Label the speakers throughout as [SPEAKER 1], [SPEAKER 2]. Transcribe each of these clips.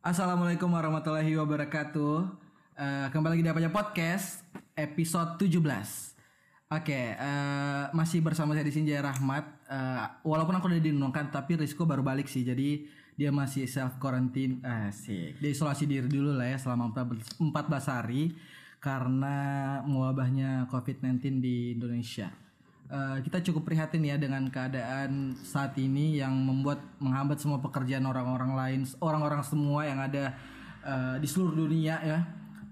[SPEAKER 1] Assalamualaikum warahmatullahi wabarakatuh. Eh, kembali lagi di Apanya Podcast episode 17. Oke, eh, masih bersama saya di sini Jaya Rahmat. Eh, walaupun aku udah diinungkan tapi Rizko baru balik sih. Jadi dia masih self quarantine asik. Dia isolasi diri dulu lah ya selama 14 hari karena mewabahnya COVID-19 di Indonesia. Eh, kita cukup prihatin ya dengan keadaan saat ini yang membuat menghambat semua pekerjaan orang-orang lain, orang-orang semua yang ada eh, di seluruh dunia ya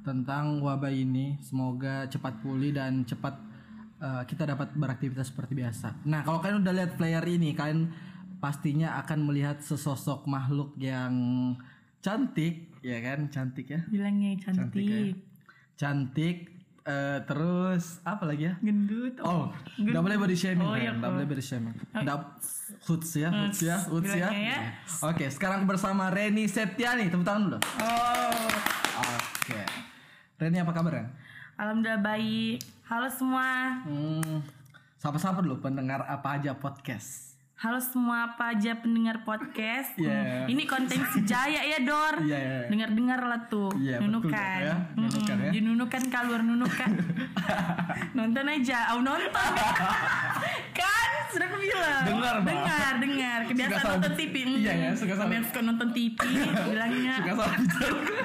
[SPEAKER 1] tentang wabah ini. Semoga cepat pulih dan cepat eh, kita dapat beraktivitas seperti biasa. Nah, kalau kalian udah lihat player ini, kalian pastinya akan melihat sesosok makhluk yang cantik, ya kan? Cantik ya.
[SPEAKER 2] bilangnya cantik,
[SPEAKER 1] Cantik ya. Cantik eh, terus apa lagi ya?
[SPEAKER 2] gendut
[SPEAKER 1] Oh, nggak boleh body shaming,
[SPEAKER 2] Oh, iya,
[SPEAKER 1] Ren. Nggak
[SPEAKER 2] kok.
[SPEAKER 1] boleh body shaming. Nggak- hoots ya, hoots ya,
[SPEAKER 2] Hoots,
[SPEAKER 1] hoots ya.
[SPEAKER 2] bilangnya ya.
[SPEAKER 1] Oke, sekarang bersama Reni Septiani. Tepuk tangan dulu.
[SPEAKER 2] oh
[SPEAKER 1] Oke. Reni apa kabar, Ren?
[SPEAKER 2] alhamdulillah baik halo semua
[SPEAKER 1] Hmm, sapa-sapa dulu pendengar apa aja podcast.
[SPEAKER 2] halo semua apa aja pendengar podcast
[SPEAKER 1] Iya.
[SPEAKER 2] Hmm, ini konten si Jaya ya
[SPEAKER 1] Iya,
[SPEAKER 2] Dor
[SPEAKER 1] iya, iya.
[SPEAKER 2] dengar dengar lah tuh
[SPEAKER 1] Iya, betul,
[SPEAKER 2] nunukan
[SPEAKER 1] ya.
[SPEAKER 2] Mm-mm,
[SPEAKER 1] Nunukan, ya.
[SPEAKER 2] dinunukan keluar nunukan nonton aja au nonton kan sudah aku bilang
[SPEAKER 1] Dengar, Mbak.
[SPEAKER 2] dengar dengar kebiasaan
[SPEAKER 1] salah-
[SPEAKER 2] nonton TV Mm-mm.
[SPEAKER 1] Iya, ya, suka salah-
[SPEAKER 2] Kebiasaan suka nonton TV bilangnya
[SPEAKER 1] Suka salah bicara.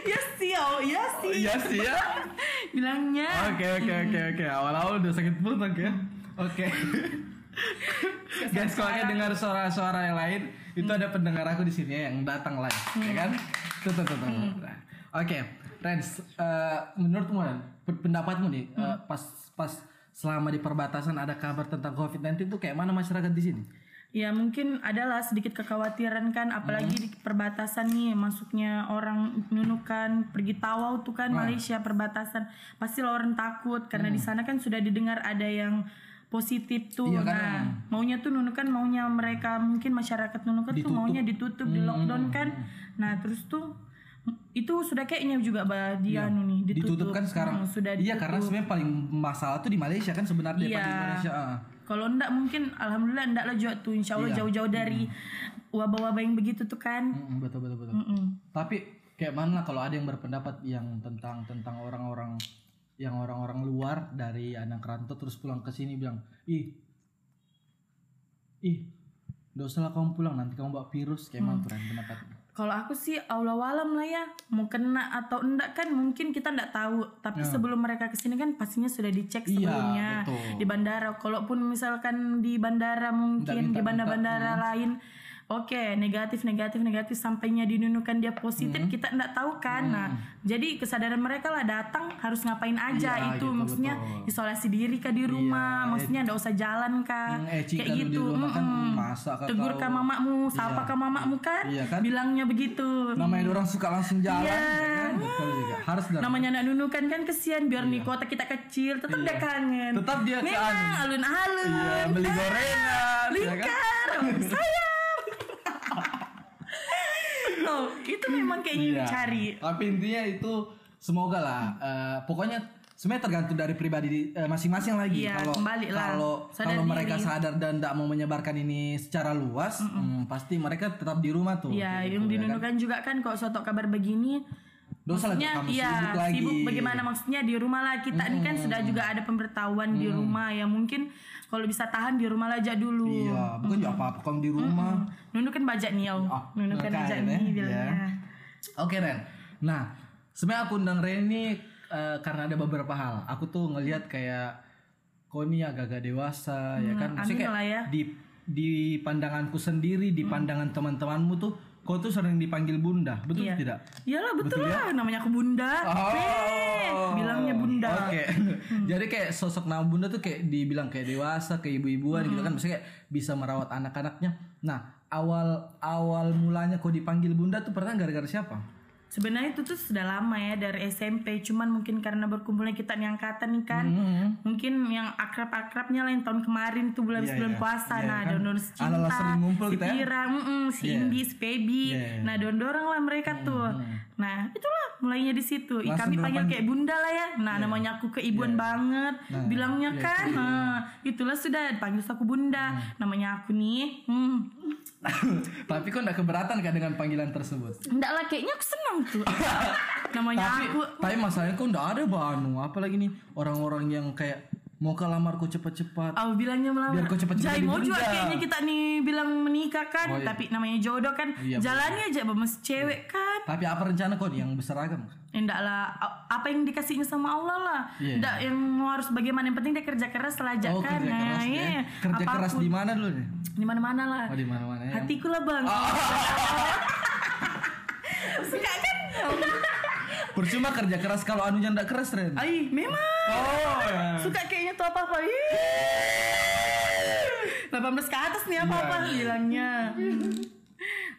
[SPEAKER 2] ya sih oh ya sih
[SPEAKER 1] Iya sih ya.
[SPEAKER 2] bilangnya
[SPEAKER 1] Oke, oke, oke, oke. Awal-awal udah sakit perut oke. Oke. Guys, kalau kalian dengar suara-suara yang lain, itu ada pendengar aku di sini yang datang live, ya kan? Tuh, tuh, tuh, tuh. Nah, Oke, Rens, eh, menurutmu pen- pendapatmu nih eh,
[SPEAKER 2] Hmm.
[SPEAKER 1] pas pas selama di perbatasan ada kabar tentang COVID-19 itu kayak mana masyarakat di sini?
[SPEAKER 2] Ya mungkin adalah sedikit kekhawatiran kan apalagi
[SPEAKER 1] Hmm.
[SPEAKER 2] di perbatasan nih masuknya orang nunukan pergi tawau tuh kan
[SPEAKER 1] Nah.
[SPEAKER 2] Malaysia perbatasan pasti lah orang takut karena di sana kan sudah didengar ada yang positif tuh
[SPEAKER 1] Hmm. Iya, kan,
[SPEAKER 2] nah maunya tuh nunukan maunya mereka mungkin masyarakat nunukan tuh maunya ditutup di lockdown
[SPEAKER 1] Hmm.
[SPEAKER 2] kan nah terus tuh itu sudah kayaknya juga bah dia anu nih ditutup,
[SPEAKER 1] Ditutup kan sekarang.
[SPEAKER 2] Hmm, sudah
[SPEAKER 1] iya, karena sebenarnya paling masalah tuh di Malaysia kan sebenarnya daripada di
[SPEAKER 2] Iya.
[SPEAKER 1] Indonesia. ah.
[SPEAKER 2] Kalau enggak mungkin alhamdulillah enggak lah juga tuh insya
[SPEAKER 1] Iya.
[SPEAKER 2] Allah jauh-jauh dari
[SPEAKER 1] Hmm.
[SPEAKER 2] wabah-wabah yang begitu tuh kan.
[SPEAKER 1] Mm, mm, betul, betul, betul.
[SPEAKER 2] Mm-mm.
[SPEAKER 1] Tapi kayak mana kalau ada yang berpendapat yang tentang tentang orang-orang yang orang-orang luar dari anak rantau terus pulang ke sini bilang, "Ih. Ih, nggak usah lah kamu pulang nanti kamu bawa virus." Kayak
[SPEAKER 2] Hmm.
[SPEAKER 1] mana tuh Ren, pendapatnya?
[SPEAKER 2] Kalau aku sih Allah walam lah ya mau kena atau enggak kan mungkin kita enggak tahu. Tapi sebelum mereka kesini kan pastinya sudah
[SPEAKER 1] Ya.
[SPEAKER 2] dicek
[SPEAKER 1] Iya,
[SPEAKER 2] sebelumnya
[SPEAKER 1] betul.
[SPEAKER 2] di bandara. Kalaupun misalkan di bandara mungkin di
[SPEAKER 1] Hmm.
[SPEAKER 2] bandara-bandara lain Oke, negatif, negatif, negatif sampainya dinunukan dia
[SPEAKER 1] Hmm.
[SPEAKER 2] positif, kita enggak tahu kan. Nah, jadi kesadaran mereka lah datang harus ngapain aja
[SPEAKER 1] Iya,
[SPEAKER 2] itu
[SPEAKER 1] gitu,
[SPEAKER 2] maksudnya
[SPEAKER 1] betul. Iya, eh,
[SPEAKER 2] isolasi diri kah di rumah, maksudnya enggak usah jalan kah.
[SPEAKER 1] Hmm, eh, Cika, lu di rumah kan
[SPEAKER 2] mm-mm.
[SPEAKER 1] masak kah
[SPEAKER 2] gitu. Hmm, Tegur
[SPEAKER 1] kau?
[SPEAKER 2] kah mamamu, sapa
[SPEAKER 1] Iya.
[SPEAKER 2] kah mamamu kan?
[SPEAKER 1] Iya kan?
[SPEAKER 2] Bilangnya begitu.
[SPEAKER 1] Namanya orang suka langsung jalan,
[SPEAKER 2] Iya.
[SPEAKER 1] ya kan? Betul juga. Harus dan
[SPEAKER 2] Namanya anak nunukan kan kesian biar nih kota kita kecil tetap dia
[SPEAKER 1] Iya.
[SPEAKER 2] kangen.
[SPEAKER 1] Tetap dia ke
[SPEAKER 2] Memang
[SPEAKER 1] anu.
[SPEAKER 2] alun-alun.
[SPEAKER 1] Iya, beli
[SPEAKER 2] Ah,
[SPEAKER 1] gorengan, ya
[SPEAKER 2] Lingkar. Sayang. oh, itu memang kayaknya yang
[SPEAKER 1] Iya.
[SPEAKER 2] dicari.
[SPEAKER 1] Tapi intinya itu semoga lah. eh, pokoknya sebenarnya tergantung dari pribadi di- eh, masing-masing lagi.
[SPEAKER 2] Iya,
[SPEAKER 1] Kalau
[SPEAKER 2] kembali lah.
[SPEAKER 1] kalau
[SPEAKER 2] Sadar
[SPEAKER 1] kalau
[SPEAKER 2] diri.
[SPEAKER 1] mereka sadar dan tidak mau menyebarkan ini secara luas, hmm, pasti mereka tetap di rumah tuh. Kayak
[SPEAKER 2] Iya, yang
[SPEAKER 1] gitu, ya kan?
[SPEAKER 2] dinunukan juga kan kalau suatu kabar begini
[SPEAKER 1] Dosa lagi
[SPEAKER 2] maksudnya
[SPEAKER 1] kamu
[SPEAKER 2] iya
[SPEAKER 1] sibuk lagi.
[SPEAKER 2] bagaimana maksudnya di rumah lah kita ini kan sudah juga ada pemberitahuan di rumah ya mungkin kalau bisa tahan di rumah lah aja dulu.
[SPEAKER 1] Iya, bukan juga apa-apa kamu di rumah.
[SPEAKER 2] Nunukan bajak nih
[SPEAKER 1] Oh,
[SPEAKER 2] oh. Nunukan
[SPEAKER 1] nunukan,
[SPEAKER 2] bajak
[SPEAKER 1] ya.
[SPEAKER 2] nih bilangnya.
[SPEAKER 1] Iya. Oke Ren. Nah, sebenarnya aku undang Ren ini eh, karena ada beberapa hal. Aku tuh ngelihat kayak kau ini agak-agak dewasa ya kan. Maksudnya
[SPEAKER 2] amin
[SPEAKER 1] kayak
[SPEAKER 2] lah ya. Hmm.
[SPEAKER 1] di di pandanganku sendiri, di pandangan teman-temanmu tuh kau tuh sering dipanggil bunda, betul ya?
[SPEAKER 2] Iya.
[SPEAKER 1] tidak?
[SPEAKER 2] Iyalah betul, lah namanya aku bunda. Weh, bilangnya bunda.
[SPEAKER 1] Oh.
[SPEAKER 2] Hmm.
[SPEAKER 1] Oke. Jadi kayak sosok nama bunda tuh kayak dibilang kayak dewasa, kayak ibu-ibuan gitu
[SPEAKER 2] Hmm.
[SPEAKER 1] kan. Maksudnya kayak bisa merawat anak-anaknya. Nah, awal awal mulanya kau dipanggil bunda tuh pernah gara-gara siapa?
[SPEAKER 2] Sebenarnya itu tuh sudah lama ya dari SMP, cuman mungkin karena berkumpulnya kita nih angkatan nih kan. Mungkin yang akrab-akrabnya lain tahun kemarin tuh bulan
[SPEAKER 1] Iya,
[SPEAKER 2] bulan
[SPEAKER 1] iya.
[SPEAKER 2] puasa
[SPEAKER 1] Iya,
[SPEAKER 2] nah
[SPEAKER 1] kan?
[SPEAKER 2] don-don si cinta,
[SPEAKER 1] Ala-ala sering ngumpul
[SPEAKER 2] si
[SPEAKER 1] kita ya.
[SPEAKER 2] Pira, mm-mm, si Indi, si Feby.
[SPEAKER 1] Iya, iya.
[SPEAKER 2] Nah, don-dorong lah mereka tuh. Nah, itulah mulainya di situ. Ih,
[SPEAKER 1] Langsung Iya.
[SPEAKER 2] kami panggil
[SPEAKER 1] berpan-
[SPEAKER 2] kayak bunda lah ya. Nah, namanya aku keibuan banget. Bilangnya
[SPEAKER 1] iya,
[SPEAKER 2] kan, nah, itulah sudah panggil aku bunda. Namanya aku nih. Hmm.
[SPEAKER 1] Tapi kok gak keberatan kan dengan panggilan tersebut?
[SPEAKER 2] Enggak lah, kayaknya aku seneng tuh. namanya
[SPEAKER 1] Tapi,
[SPEAKER 2] aku
[SPEAKER 1] tapi masalahnya kok gak ada Banu. Apalagi nih orang-orang yang kayak mau kelamar kok cepat-cepat.
[SPEAKER 2] Aku bilangnya melamar.
[SPEAKER 1] Biar kau cepet-cepet
[SPEAKER 2] Jai
[SPEAKER 1] jadi
[SPEAKER 2] mau juga
[SPEAKER 1] bunda.
[SPEAKER 2] kayaknya kita nih bilang menikah kan,
[SPEAKER 1] Oh, iya.
[SPEAKER 2] tapi namanya jodoh kan.
[SPEAKER 1] Iya,
[SPEAKER 2] Jalani aja sama si cewek kan.
[SPEAKER 1] Tapi apa rencana kok yang berseragam?
[SPEAKER 2] Enggak lah, a- apa yang dikasihnya sama Allah lah.
[SPEAKER 1] Iya.
[SPEAKER 2] Enggak yang harus bagaimana yang penting dia kerja keras lah aja
[SPEAKER 1] Oh
[SPEAKER 2] kan.
[SPEAKER 1] kerja
[SPEAKER 2] Nah,
[SPEAKER 1] keras
[SPEAKER 2] iya.
[SPEAKER 1] ya. Kerja keras di mana dulu nih?
[SPEAKER 2] di mana-mana lah.
[SPEAKER 1] Oh di mana-mana ya.
[SPEAKER 2] Hatiku lah, Bang. Suka kan?
[SPEAKER 1] Percuma kerja keras kalau anunya ndak keras Ren.
[SPEAKER 2] Ai, memang.
[SPEAKER 1] Oh. ya.
[SPEAKER 2] Suka kayaknya tuh apa-apa. Ih. 18 ke atas nih
[SPEAKER 1] Iya,
[SPEAKER 2] apa-apa bilangnya.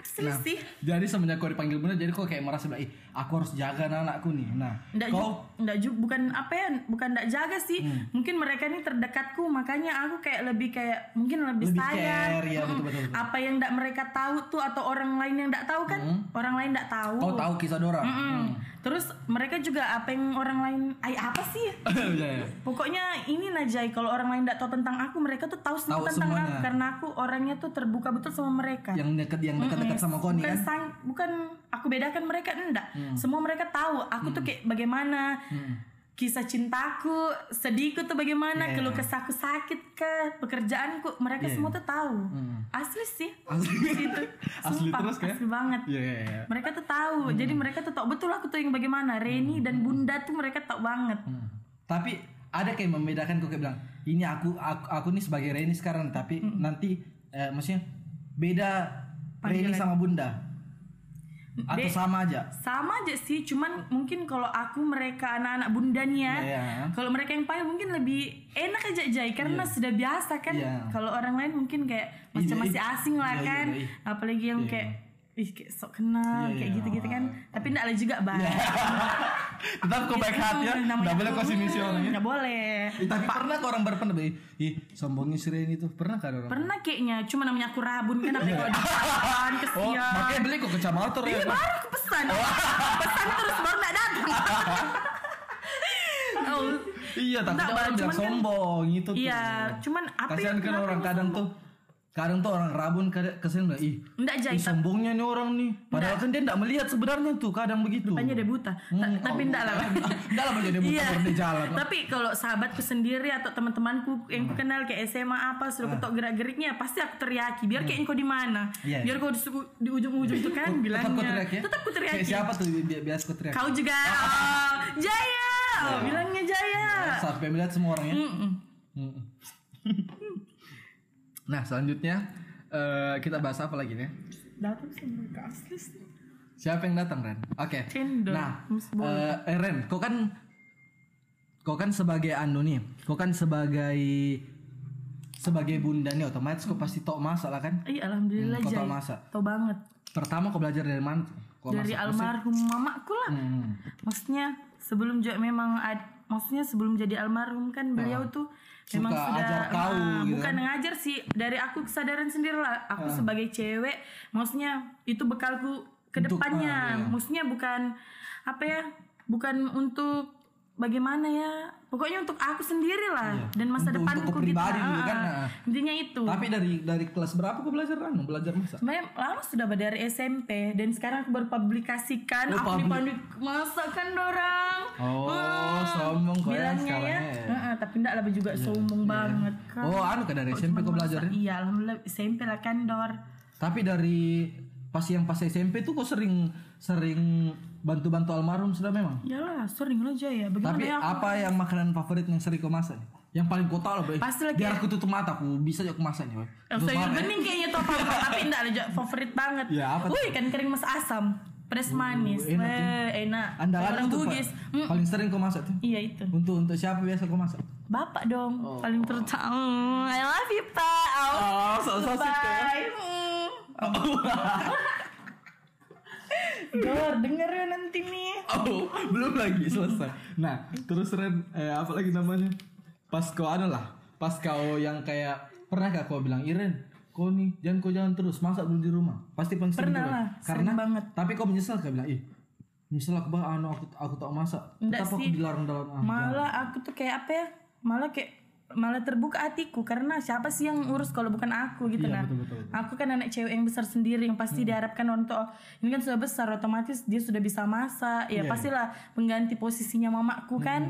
[SPEAKER 2] Selisih. sih
[SPEAKER 1] Jadi semenjak kau dipanggil bunda, jadi kau kayak merasa bilang, ih aku harus jaga anak anakku nih. Nah,
[SPEAKER 2] Nggak
[SPEAKER 1] kau Hmm.
[SPEAKER 2] juga, nggak ju- bukan apa ya, bukan nggak jaga sih. Mungkin mereka ini terdekatku, makanya aku kayak lebih kayak mungkin lebih,
[SPEAKER 1] Lebih
[SPEAKER 2] sayang.
[SPEAKER 1] care, ya,
[SPEAKER 2] Mm-mm.
[SPEAKER 1] betul-betul, betul.
[SPEAKER 2] Apa yang nggak mereka tahu tuh atau orang lain yang nggak tahu kan,
[SPEAKER 1] Hmm.
[SPEAKER 2] orang lain nggak tahu.
[SPEAKER 1] kau tahu kisah Dora.
[SPEAKER 2] Mm-mm. Terus mereka juga apa yang orang lain, ay apa sih? ya?
[SPEAKER 1] Iya, iya.
[SPEAKER 2] Pokoknya ini Najai, kalau orang lain nggak tahu tentang aku, mereka tuh tahu semua
[SPEAKER 1] Tahu
[SPEAKER 2] tentang
[SPEAKER 1] semuanya.
[SPEAKER 2] aku karena aku orangnya tuh terbuka betul sama mereka.
[SPEAKER 1] yang deket yang dekat-dekat sama kau nih
[SPEAKER 2] bukan
[SPEAKER 1] kan. Hmm.
[SPEAKER 2] sang- bukan aku bedakan mereka enggak semua mereka tahu aku tuh kayak bagaimana kisah cintaku sedihku tuh bagaimana
[SPEAKER 1] Yeah.
[SPEAKER 2] keluh kesahku sakit ke pekerjaanku mereka
[SPEAKER 1] Yeah.
[SPEAKER 2] semua tuh tahu
[SPEAKER 1] Mm.
[SPEAKER 2] asli sih
[SPEAKER 1] Iya. Asli.
[SPEAKER 2] Itu.
[SPEAKER 1] Asli
[SPEAKER 2] Sumpah,
[SPEAKER 1] terus kan?
[SPEAKER 2] asli banget
[SPEAKER 1] Iya, iya, iya.
[SPEAKER 2] mereka tuh tahu jadi mereka tuh tahu betul aku tuh yang bagaimana Reni dan Bunda tuh mereka tahu banget
[SPEAKER 1] Hmm. Tapi ada kayak membedakan kok kayak bilang, ini aku aku, aku nih sebagai Reni sekarang, tapi nanti eh, maksudnya beda Reni sama Bunda. Atau
[SPEAKER 2] Be-
[SPEAKER 1] sama aja.
[SPEAKER 2] sama aja sih cuman mungkin kalau aku mereka anak-anak bunda nih ya
[SPEAKER 1] Iya.
[SPEAKER 2] kalau mereka yang pahit mungkin lebih enak aja Jai karena sudah biasa kan
[SPEAKER 1] Iya.
[SPEAKER 2] kalau orang lain mungkin kayak masih
[SPEAKER 1] Iya,
[SPEAKER 2] masih
[SPEAKER 1] iya.
[SPEAKER 2] asing lah
[SPEAKER 1] Iya, iya,
[SPEAKER 2] kan
[SPEAKER 1] iya.
[SPEAKER 2] apalagi yang kayak ih kayak sok kenal
[SPEAKER 1] Iya,
[SPEAKER 2] kayak
[SPEAKER 1] iya.
[SPEAKER 2] gitu-gitu kan tapi enggak lah juga bang Iya,
[SPEAKER 1] Tetap kau baik hati ya. Enggak boleh kau sinis orangnya.
[SPEAKER 2] nggak boleh
[SPEAKER 1] Eh, Tapi pernah kok orang berpendapat, "Ih, ih, sombongnya si Reni tuh. Pernah kan orang?
[SPEAKER 2] pernah kayaknya cuma namanya aku rabun kan apa kalau ditahan
[SPEAKER 1] Iya. Oh,
[SPEAKER 2] kesian
[SPEAKER 1] makanya beli kok ke Camauter ya.
[SPEAKER 2] Ini baru aku pesan Pesan terus baru gak datang Oh,
[SPEAKER 1] Iya, takutnya
[SPEAKER 2] Enggak,
[SPEAKER 1] orang bilang
[SPEAKER 2] cuman kan-
[SPEAKER 1] sombong gitu tuh.
[SPEAKER 2] Iya Cuman apa ya,
[SPEAKER 1] Kasihan kan
[SPEAKER 2] kenapa
[SPEAKER 1] orang
[SPEAKER 2] lu
[SPEAKER 1] kadang tuh kadang tuh orang rabun kadang kasihan bilang, ih
[SPEAKER 2] Enggak
[SPEAKER 1] Ih,
[SPEAKER 2] jahit
[SPEAKER 1] sombongnya nih orang nih. Padahal kan dia enggak melihat sebenarnya tuh kadang begitu.
[SPEAKER 2] Hanya ada buta Ta-
[SPEAKER 1] Hmm,
[SPEAKER 2] Tapi
[SPEAKER 1] Allah.
[SPEAKER 2] enggak lah
[SPEAKER 1] Enggak lah menjadi muter
[SPEAKER 2] Iya.
[SPEAKER 1] di jalan.
[SPEAKER 2] Tapi kalau sahabatku sendiri atau teman-temanku yang ku kenal kayak SMA apa sudah ketok gerak-geriknya pasti aku teriaki biar kayak engkau di
[SPEAKER 1] Ah.
[SPEAKER 2] mana.
[SPEAKER 1] Iya, iya.
[SPEAKER 2] Biar kau di, su- di ujung-ujung itu kan bilangnya.
[SPEAKER 1] Tetap ku teriak ya.
[SPEAKER 2] ku teriaki.
[SPEAKER 1] Kayak siapa tuh bi- bi- biasa ku teriak.
[SPEAKER 2] Kau juga. Oh, Jaya.
[SPEAKER 1] Iya.
[SPEAKER 2] Oh, bilangnya Jaya.
[SPEAKER 1] Sampai melihat semua orang ya.
[SPEAKER 2] Mm-mm.
[SPEAKER 1] Mm-mm. Nah, selanjutnya eh, kita bahas apa lagi nih?
[SPEAKER 2] Datang sama mereka asli sih.
[SPEAKER 1] Siapa yang datang Ren? Oke.
[SPEAKER 2] Cendol.
[SPEAKER 1] Nah,
[SPEAKER 2] Miss Boy.
[SPEAKER 1] eh, eh, Ren, kau kan kau kan sebagai anu nih, kau kan sebagai sebagai bunda nih otomatis kau pasti tok masak lah kan?
[SPEAKER 2] Iya alhamdulillah
[SPEAKER 1] Hmm, kau
[SPEAKER 2] Jai.
[SPEAKER 1] tahu masak.
[SPEAKER 2] Tahu banget.
[SPEAKER 1] Pertama kau belajar dari mana? Kau
[SPEAKER 2] Dari
[SPEAKER 1] masak?
[SPEAKER 2] almarhum mamaku lah.
[SPEAKER 1] Hmm.
[SPEAKER 2] Maksudnya sebelum juga memang ad- maksudnya sebelum jadi almarhum kan beliau tuh
[SPEAKER 1] Ah. Suka
[SPEAKER 2] memang sudah
[SPEAKER 1] ajar kau, gitu
[SPEAKER 2] nah,
[SPEAKER 1] Ah.
[SPEAKER 2] bukan ngajar sih dari aku kesadaran sendiri lah aku sebagai cewek maksudnya itu bekalku ke
[SPEAKER 1] Untuk, ah,
[SPEAKER 2] depannya
[SPEAKER 1] iya.
[SPEAKER 2] maksudnya bukan apa ya bukan untuk bagaimana ya pokoknya untuk aku sendiri lah
[SPEAKER 1] Iya.
[SPEAKER 2] dan masa
[SPEAKER 1] Untuk- untuk
[SPEAKER 2] depanku
[SPEAKER 1] kepribadi
[SPEAKER 2] gitu,
[SPEAKER 1] gitu
[SPEAKER 2] Ah,
[SPEAKER 1] kan,
[SPEAKER 2] ah.
[SPEAKER 1] ah.
[SPEAKER 2] intinya itu
[SPEAKER 1] Tapi dari dari kelas berapa kau belajar anu? Belajar masak?
[SPEAKER 2] Sebenarnya lama sudah bah, dari SMP dan sekarang aku baru publikasikan
[SPEAKER 1] Oh,
[SPEAKER 2] aku
[SPEAKER 1] publik-
[SPEAKER 2] dipandu masakan dorang.
[SPEAKER 1] Oh, sombong kau ya
[SPEAKER 2] Bilangnya ya.
[SPEAKER 1] sekarang ya. Iya,
[SPEAKER 2] Heeh, tapi enggak lebih juga sombong banget kan.
[SPEAKER 1] Oh, anu kan dari SMP kau belajar ya?
[SPEAKER 2] Iya, alhamdulillah SMP lah kan dor.
[SPEAKER 1] Tapi dari pas yang pas SMP tuh kau sering sering bantu-bantu almarhum sudah memang.
[SPEAKER 2] Iyalah, sering aja ya. Bagaimana
[SPEAKER 1] Tapi
[SPEAKER 2] ya?
[SPEAKER 1] apa yang makanan favorit yang sering kau masak? Yang paling kau tahu lah, Boy.
[SPEAKER 2] Pasti ya. lah,
[SPEAKER 1] Biar aku tutup mata, aku bisa aja aku masak nih, Boy.
[SPEAKER 2] Eh,
[SPEAKER 1] Tutup
[SPEAKER 2] sayur
[SPEAKER 1] mata.
[SPEAKER 2] bening kayaknya tuh apa tapi enggak lah, Jo, favorit banget.
[SPEAKER 1] Ya, apa tuh?
[SPEAKER 2] Wih, kan kering mas asam, pedas manis.
[SPEAKER 1] enak ya.
[SPEAKER 2] Weh, enak.
[SPEAKER 1] Andalan
[SPEAKER 2] Orang
[SPEAKER 1] tuh
[SPEAKER 2] bugis. Hmm, Mm.
[SPEAKER 1] Pak. paling sering kau masak tuh.
[SPEAKER 2] Iya itu.
[SPEAKER 1] Untuk untuk siapa biasa kau masak?
[SPEAKER 2] Bapak dong paling terutama. Mm, I love you, Pak. Oh,
[SPEAKER 1] Oh, sok-sok sih, Teh. Oh,
[SPEAKER 2] Bye. Mm. Dor, denger ya nanti nih.
[SPEAKER 1] Oh, belum lagi selesai. Nah, terus Ren, eh, apa lagi namanya? Pas kau anu lah, pas kau yang kayak pernah gak kau bilang Iren, kau nih jangan kau jangan terus masak dulu di rumah. Pasti pasti
[SPEAKER 2] Pernah lah, sering
[SPEAKER 1] Karena
[SPEAKER 2] banget.
[SPEAKER 1] Tapi kau menyesal kau bilang, ih, nyesel aku bah anu aku aku tak masak
[SPEAKER 2] Nggak
[SPEAKER 1] tetap aku
[SPEAKER 2] sih.
[SPEAKER 1] dilarang dalam ah, jangan.
[SPEAKER 2] malah aku tuh kayak apa ya malah kayak malah terbuka hatiku karena siapa sih yang urus kalau bukan aku gitu
[SPEAKER 1] Iya,
[SPEAKER 2] nah
[SPEAKER 1] betul, Hmm. betul, betul.
[SPEAKER 2] aku kan anak cewek yang besar sendiri yang pasti diharapkan untuk oh, ini kan sudah besar otomatis dia sudah bisa masak
[SPEAKER 1] Iya,
[SPEAKER 2] ya pastilah mengganti posisinya mamaku
[SPEAKER 1] Hmm.
[SPEAKER 2] kan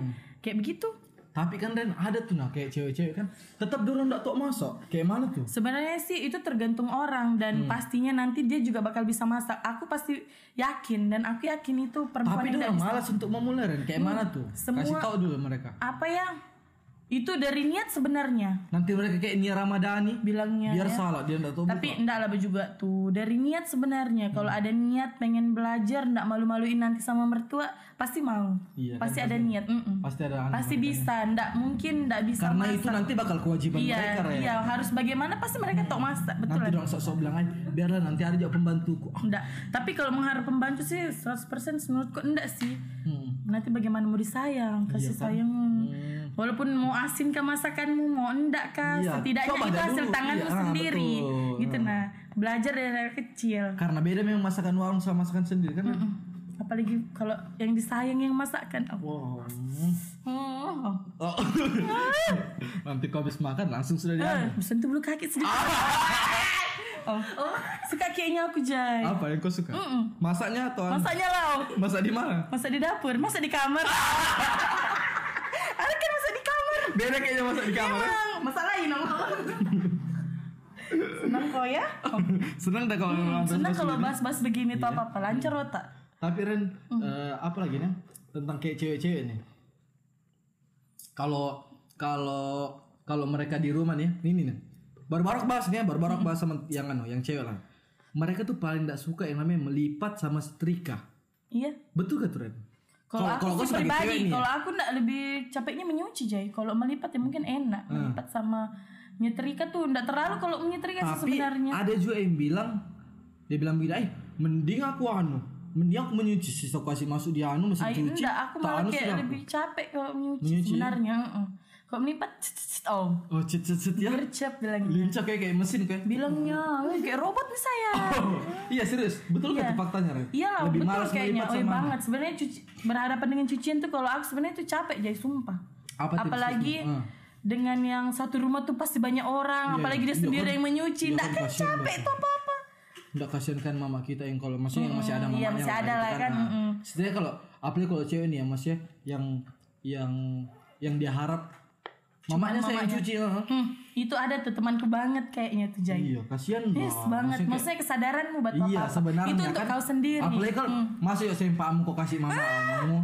[SPEAKER 2] kayak begitu
[SPEAKER 1] tapi kan dan ada tuh nah kayak cewek-cewek kan tetap dorong ndak tok masak kayak mana tuh
[SPEAKER 2] Sebenarnya sih itu tergantung orang
[SPEAKER 1] Hmm.
[SPEAKER 2] dan pastinya nanti dia juga bakal bisa masak. Aku pasti yakin dan aku yakin itu perempuan
[SPEAKER 1] tapi
[SPEAKER 2] yang
[SPEAKER 1] dorong malas untuk memulai Ren. kayak mana tuh
[SPEAKER 2] Hmm, semua-
[SPEAKER 1] kasih tau dulu mereka
[SPEAKER 2] apa ya? Itu dari niat sebenarnya
[SPEAKER 1] nanti mereka kayak Nia Ramadhani
[SPEAKER 2] bilangnya.
[SPEAKER 1] biar
[SPEAKER 2] ya.
[SPEAKER 1] salah dia ndak tahu
[SPEAKER 2] Tapi enggak lah juga tuh dari niat sebenarnya.
[SPEAKER 1] Hmm.
[SPEAKER 2] Kalau ada niat pengen belajar enggak malu-maluin nanti sama mertua pasti mau.
[SPEAKER 1] Iya,
[SPEAKER 2] pasti ada niat. mm-mm.
[SPEAKER 1] pasti ada anak
[SPEAKER 2] Pasti bisa. Enggak mungkin enggak bisa.
[SPEAKER 1] karena
[SPEAKER 2] masak.
[SPEAKER 1] itu nanti bakal kewajiban
[SPEAKER 2] iya,
[SPEAKER 1] mereka Nah. Ren.
[SPEAKER 2] iya harus bagaimana pasti mereka tok masak betul.
[SPEAKER 1] nanti dorong sok-sok bilang aja biarlah nanti ada juga pembantuku Ah,
[SPEAKER 2] Enggak. Tapi kalau mengharap pembantu sih 100% menurutku enggak sih.
[SPEAKER 1] hmm.
[SPEAKER 2] Nanti bagaimana mau disayang, kasih sayang.
[SPEAKER 1] Iya, kan? Hmm.
[SPEAKER 2] Walaupun mau asin kah masakanmu, mau enggak kah,
[SPEAKER 1] Iya,
[SPEAKER 2] setidaknya
[SPEAKER 1] coba
[SPEAKER 2] itu
[SPEAKER 1] dah
[SPEAKER 2] hasil
[SPEAKER 1] dulu.
[SPEAKER 2] tanganmu
[SPEAKER 1] Iya,
[SPEAKER 2] sendiri.
[SPEAKER 1] betul.
[SPEAKER 2] Gitu nah. Belajar dari, dari kecil.
[SPEAKER 1] karena beda memang masakan warung sama masakan sendiri kan
[SPEAKER 2] Mm. Apalagi kalau yang disayang yang masakan. Oh.
[SPEAKER 1] wow
[SPEAKER 2] Oh.
[SPEAKER 1] Oh. nanti kau habis makan langsung sudah di
[SPEAKER 2] Eh, sentuh bulu kaki sedikit. oh. Suka kayaknya aku, Jai.
[SPEAKER 1] apa yang kau suka masaknya atau
[SPEAKER 2] Masaknya lah, oh.
[SPEAKER 1] masak di mana
[SPEAKER 2] Masak di dapur, masak di kamar. Ada kan masak di kamar.
[SPEAKER 1] beda kayaknya masak di kamar
[SPEAKER 2] Emang masalah ini Om. Senang kok ya? Oh,
[SPEAKER 1] senang dah kalau orang
[SPEAKER 2] Senang
[SPEAKER 1] bahas-bahas
[SPEAKER 2] kalau
[SPEAKER 1] begini.
[SPEAKER 2] bahas-bahas begini tuh apa-apa lancar otak.
[SPEAKER 1] tapi Ren eh, apa lagi nih tentang kayak cewek-cewek nih kalau kalau kalau mereka di rumah nih ini nih barbarok bahas nih ya, barbarok bahas sama yang anu yang cewek lah mereka tuh paling tidak suka yang namanya melipat sama setrika
[SPEAKER 2] Iya.
[SPEAKER 1] betul gak tuh Ren
[SPEAKER 2] Kalau
[SPEAKER 1] kalau kau
[SPEAKER 2] aku sih
[SPEAKER 1] sebagai cewek
[SPEAKER 2] pribadi,
[SPEAKER 1] nih ya?
[SPEAKER 2] kalau aku ndak lebih capeknya menyuci Jay. Kalau melipat ya mungkin enak,
[SPEAKER 1] Hmm.
[SPEAKER 2] melipat sama nyetrika tuh ndak terlalu kalau nyetrika Iya sih
[SPEAKER 1] tapi
[SPEAKER 2] sebenarnya.
[SPEAKER 1] ada juga yang bilang dia bilang gini eh mending aku anu mending aku menyuci sisa aku kasih masuk di anu mesin
[SPEAKER 2] Ay,
[SPEAKER 1] cuci
[SPEAKER 2] enggak, aku
[SPEAKER 1] tak
[SPEAKER 2] malah
[SPEAKER 1] anu
[SPEAKER 2] kayak
[SPEAKER 1] sudah.
[SPEAKER 2] lebih capek kalau menyuci,
[SPEAKER 1] Menyuci, ya?
[SPEAKER 2] sebenarnya. heeh. Kalau melipat, cet, cet, cet, oh,
[SPEAKER 1] oh cet cet cet ya
[SPEAKER 2] gercep bilangnya.
[SPEAKER 1] lincah kayak kayak mesin kayak
[SPEAKER 2] Bilangnya, "Eh, kayak robot nih saya.
[SPEAKER 1] iya serius betul nggak
[SPEAKER 2] Iya.
[SPEAKER 1] tuh faktanya Ren
[SPEAKER 2] Iya lah,
[SPEAKER 1] lebih
[SPEAKER 2] betul
[SPEAKER 1] malas
[SPEAKER 2] kayaknya.
[SPEAKER 1] melipat
[SPEAKER 2] Oh iya
[SPEAKER 1] sama
[SPEAKER 2] banget. Sebenarnya cuci berhadapan dengan cucian tuh kalau aku sebenarnya tuh capek jadi sumpah.
[SPEAKER 1] apa tips
[SPEAKER 2] apalagi
[SPEAKER 1] tipsnya? Ah.
[SPEAKER 2] dengan yang satu rumah tuh pasti banyak orang,
[SPEAKER 1] Iya,
[SPEAKER 2] apalagi dia
[SPEAKER 1] iya
[SPEAKER 2] sendiri
[SPEAKER 1] kan.
[SPEAKER 2] yang menyuci.
[SPEAKER 1] Iya
[SPEAKER 2] Nggak
[SPEAKER 1] kan,
[SPEAKER 2] kan
[SPEAKER 1] kasihan
[SPEAKER 2] capek
[SPEAKER 1] mereka.
[SPEAKER 2] tuh apa-apa.
[SPEAKER 1] nggak kasihan kan mama kita yang kalau maksudnya yang masih ada
[SPEAKER 2] Mm,
[SPEAKER 1] mamanya
[SPEAKER 2] iya, masih ada lah kan,
[SPEAKER 1] Nah,
[SPEAKER 2] mm-mm.
[SPEAKER 1] setidaknya kalau apalagi kalau cewek nih ya mas ya yang yang yang dia harap mamanya saya yang cuci ah.
[SPEAKER 2] Hmm, itu ada tuh temanku banget kayaknya tuh Jai.
[SPEAKER 1] iya kasihan
[SPEAKER 2] Yes
[SPEAKER 1] Mas.
[SPEAKER 2] banget.
[SPEAKER 1] Maksudnya kayak-
[SPEAKER 2] Maksudnya kesadaranmu buat
[SPEAKER 1] Iya
[SPEAKER 2] apa-apa.
[SPEAKER 1] sebenarnya
[SPEAKER 2] Itu untuk
[SPEAKER 1] kan,
[SPEAKER 2] kau sendiri. Hmm.
[SPEAKER 1] Apalagi kalau masih ya sempamu kok kasih mama kamu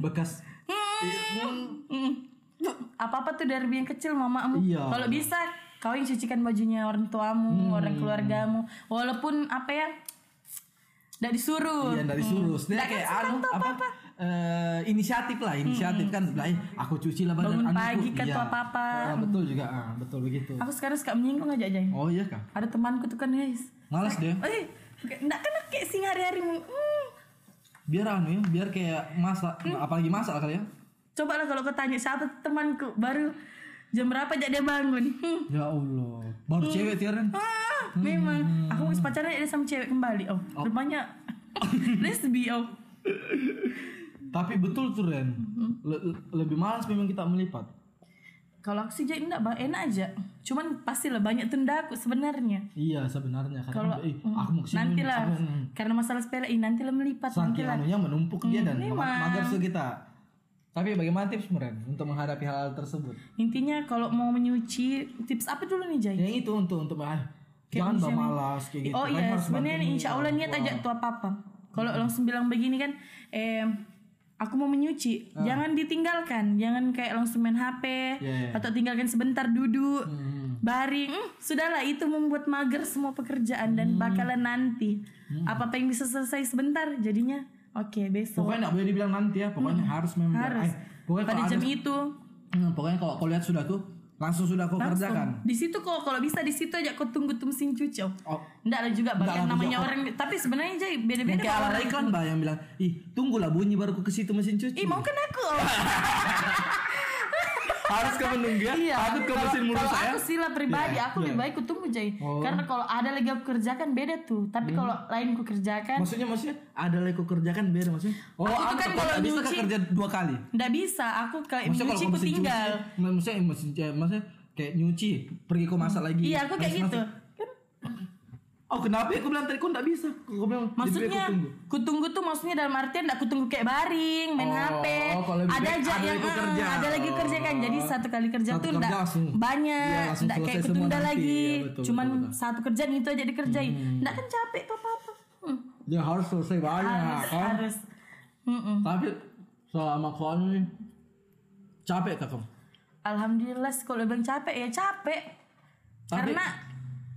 [SPEAKER 1] bekas Hmm.
[SPEAKER 2] Mm. Hmm. Apa-apa tuh dari yang kecil mamamu.
[SPEAKER 1] Iya. Hmm.
[SPEAKER 2] Kalau bisa kau yang cucikan bajunya orang tuamu, orang keluargamu. Walaupun apa ya? Dari disuruh.
[SPEAKER 1] Iya dari suruh. Dia kayak anu apa, eh, inisiatif lah inisiatif kan sebelah "Eh, aku cuci lah badan
[SPEAKER 2] Hmm. Bangun
[SPEAKER 1] anakku."
[SPEAKER 2] pagi kan
[SPEAKER 1] Iya.
[SPEAKER 2] tuh apa-apa.
[SPEAKER 1] Ah, betul juga ah, betul begitu.
[SPEAKER 2] Aku sekarang suka menyinggung aja Jai.
[SPEAKER 1] Oh iya kak.
[SPEAKER 2] Ada temanku tuh kan guys.
[SPEAKER 1] Malas deh.
[SPEAKER 2] Eh, enggak kan kayak sing hari-hari mu. Hmm.
[SPEAKER 1] Biar anu ya, biar kayak masak apalagi masak kali ya.
[SPEAKER 2] Coba lah kalau kau tanya siapa tuh temanku baru jam berapa jadi dia bangun. Hmm.
[SPEAKER 1] Ya Allah. Baru cewek tiaran.
[SPEAKER 2] Ah,
[SPEAKER 1] Hmm.
[SPEAKER 2] memang aku wis pacaran ada sama cewek kembali. Oh, rupanya lesbi oh.
[SPEAKER 1] Tapi betul tuh Ren.
[SPEAKER 2] Hmm.
[SPEAKER 1] Le- le- lebih malas memang kita melipat.
[SPEAKER 2] Kalau aku sih jadi enggak, Bang. enak aja. Cuman pasti lah banyak tunda aku sebenarnya.
[SPEAKER 1] Iya sebenarnya kadang
[SPEAKER 2] Kalau- Hmm.
[SPEAKER 1] eh, aku mau kesini
[SPEAKER 2] Nanti
[SPEAKER 1] nih,
[SPEAKER 2] lah
[SPEAKER 1] aku- hmm.
[SPEAKER 2] karena masalah sepele ih, nanti lah melipat nanti
[SPEAKER 1] saking
[SPEAKER 2] lah.
[SPEAKER 1] anunya menumpuk dia dan
[SPEAKER 2] memang.
[SPEAKER 1] ma- mager tuh kita. Tapi bagaimana tips Meren untuk menghadapi hal, -hal tersebut?
[SPEAKER 2] Intinya kalau mau menyuci tips apa dulu nih Jai?
[SPEAKER 1] Yang itu untuk untuk ah, jangan bah malas kayak gitu.
[SPEAKER 2] Oh
[SPEAKER 1] Kan
[SPEAKER 2] iya,
[SPEAKER 1] harus
[SPEAKER 2] sebenarnya nih,
[SPEAKER 1] bantuin Hmm.
[SPEAKER 2] insya Allah niat aja tuh apa apa. Kalau langsung bilang begini kan, eh aku mau menyuci, jangan ditinggalkan, jangan kayak langsung main
[SPEAKER 1] Ah.
[SPEAKER 2] HP
[SPEAKER 1] Iya, iya.
[SPEAKER 2] atau tinggalkan sebentar duduk.
[SPEAKER 1] orang. Hmm.
[SPEAKER 2] Baring, Hmm, sudahlah itu membuat mager semua pekerjaan
[SPEAKER 1] Hmm.
[SPEAKER 2] dan bakalan nanti apa apa yang bisa selesai sebentar jadinya. Oke, besok.
[SPEAKER 1] Pokoknya nggak boleh dibilang nanti ya, pokoknya harus memang.
[SPEAKER 2] Hmm,
[SPEAKER 1] Eh,
[SPEAKER 2] Harus.
[SPEAKER 1] pokoknya
[SPEAKER 2] Pada
[SPEAKER 1] kalau
[SPEAKER 2] jam
[SPEAKER 1] ada-
[SPEAKER 2] itu.
[SPEAKER 1] Hmm, pokoknya kalau kau lihat sudah tuh langsung sudah kau kerjakan.
[SPEAKER 2] Di situ kok kalau bisa di situ aja kau tunggu tumsing cuci. Oh.
[SPEAKER 1] Oh,
[SPEAKER 2] Enggak lah juga
[SPEAKER 1] Nggak
[SPEAKER 2] bahkan
[SPEAKER 1] lah,
[SPEAKER 2] namanya orang tapi sebenarnya Jay beda-beda
[SPEAKER 1] kayak
[SPEAKER 2] orang.
[SPEAKER 1] ala iklan bah yang bilang,
[SPEAKER 2] Iya. kan
[SPEAKER 1] ih tunggulah bunyi baru ku ke situ mesin cuci.
[SPEAKER 2] Ih mau kan aku
[SPEAKER 3] harus ke menunggu takut ke mesin
[SPEAKER 2] Iya, Kalau
[SPEAKER 3] mulut saya
[SPEAKER 2] aku sila pribadi,
[SPEAKER 1] Iya,
[SPEAKER 2] aku lebih baik ku tunggu jadi.
[SPEAKER 1] Oh.
[SPEAKER 2] Karena kalau ada lagi aku kerjakan beda tuh.
[SPEAKER 1] Hmm.
[SPEAKER 2] Tapi kalau lain ku kerjakan,
[SPEAKER 3] maksudnya maksudnya
[SPEAKER 1] ada lagi kerjakan biar maksudnya
[SPEAKER 3] oh
[SPEAKER 1] anu
[SPEAKER 2] Aku tuh
[SPEAKER 3] aku
[SPEAKER 2] kan
[SPEAKER 3] kan
[SPEAKER 2] kalau
[SPEAKER 1] bisa
[SPEAKER 2] nyuci-
[SPEAKER 1] kerja dua kali
[SPEAKER 2] ndak bisa. Aku kayak
[SPEAKER 1] maksudnya
[SPEAKER 2] Eh, nyuci ku
[SPEAKER 1] mesin
[SPEAKER 2] tinggal.
[SPEAKER 1] cuci, ma- maksudnya mesin- ya, maksudnya kayak nyuci pergi ke masak lagi
[SPEAKER 2] Iya, aku kayak
[SPEAKER 1] Habis
[SPEAKER 2] gitu.
[SPEAKER 1] masak. oh kenapa ya aku bilang tadi kok nggak bisa aku bilang jadi
[SPEAKER 2] Maksudnya
[SPEAKER 1] aku tunggu.
[SPEAKER 2] ku tunggu tuh maksudnya dalam artian ndak ku tunggu kayak baring, main
[SPEAKER 1] Oh,
[SPEAKER 2] HP.
[SPEAKER 1] kalau lebih
[SPEAKER 2] Ada
[SPEAKER 1] baik
[SPEAKER 2] aja
[SPEAKER 1] ada
[SPEAKER 2] yang
[SPEAKER 1] yang ku
[SPEAKER 2] eh,
[SPEAKER 1] kerja.
[SPEAKER 2] ada lagi kerjakan. Jadi satu kali kerja
[SPEAKER 1] Satu
[SPEAKER 2] tuh
[SPEAKER 1] kerja
[SPEAKER 2] ndak
[SPEAKER 1] langsung. Iya,
[SPEAKER 2] banyak,
[SPEAKER 1] langsung
[SPEAKER 2] ndak kayak
[SPEAKER 1] selesai
[SPEAKER 2] ku
[SPEAKER 1] semua
[SPEAKER 2] tunda
[SPEAKER 1] nanti. Iya,
[SPEAKER 2] lagi.
[SPEAKER 1] betul,
[SPEAKER 2] Cuman
[SPEAKER 1] betul, Hmm. betul.
[SPEAKER 2] satu kerjaan itu aja dikerjain. Ndak kan capek tuh apa-apa. Hmm,
[SPEAKER 1] ya harus selesai banyak
[SPEAKER 2] Harus
[SPEAKER 1] kan?
[SPEAKER 2] harus. Hmm, Mm-mm.
[SPEAKER 1] tapi selama kau ini capek kak kamu
[SPEAKER 2] Alhamdulillah kalau bilang capek ya capek. Karena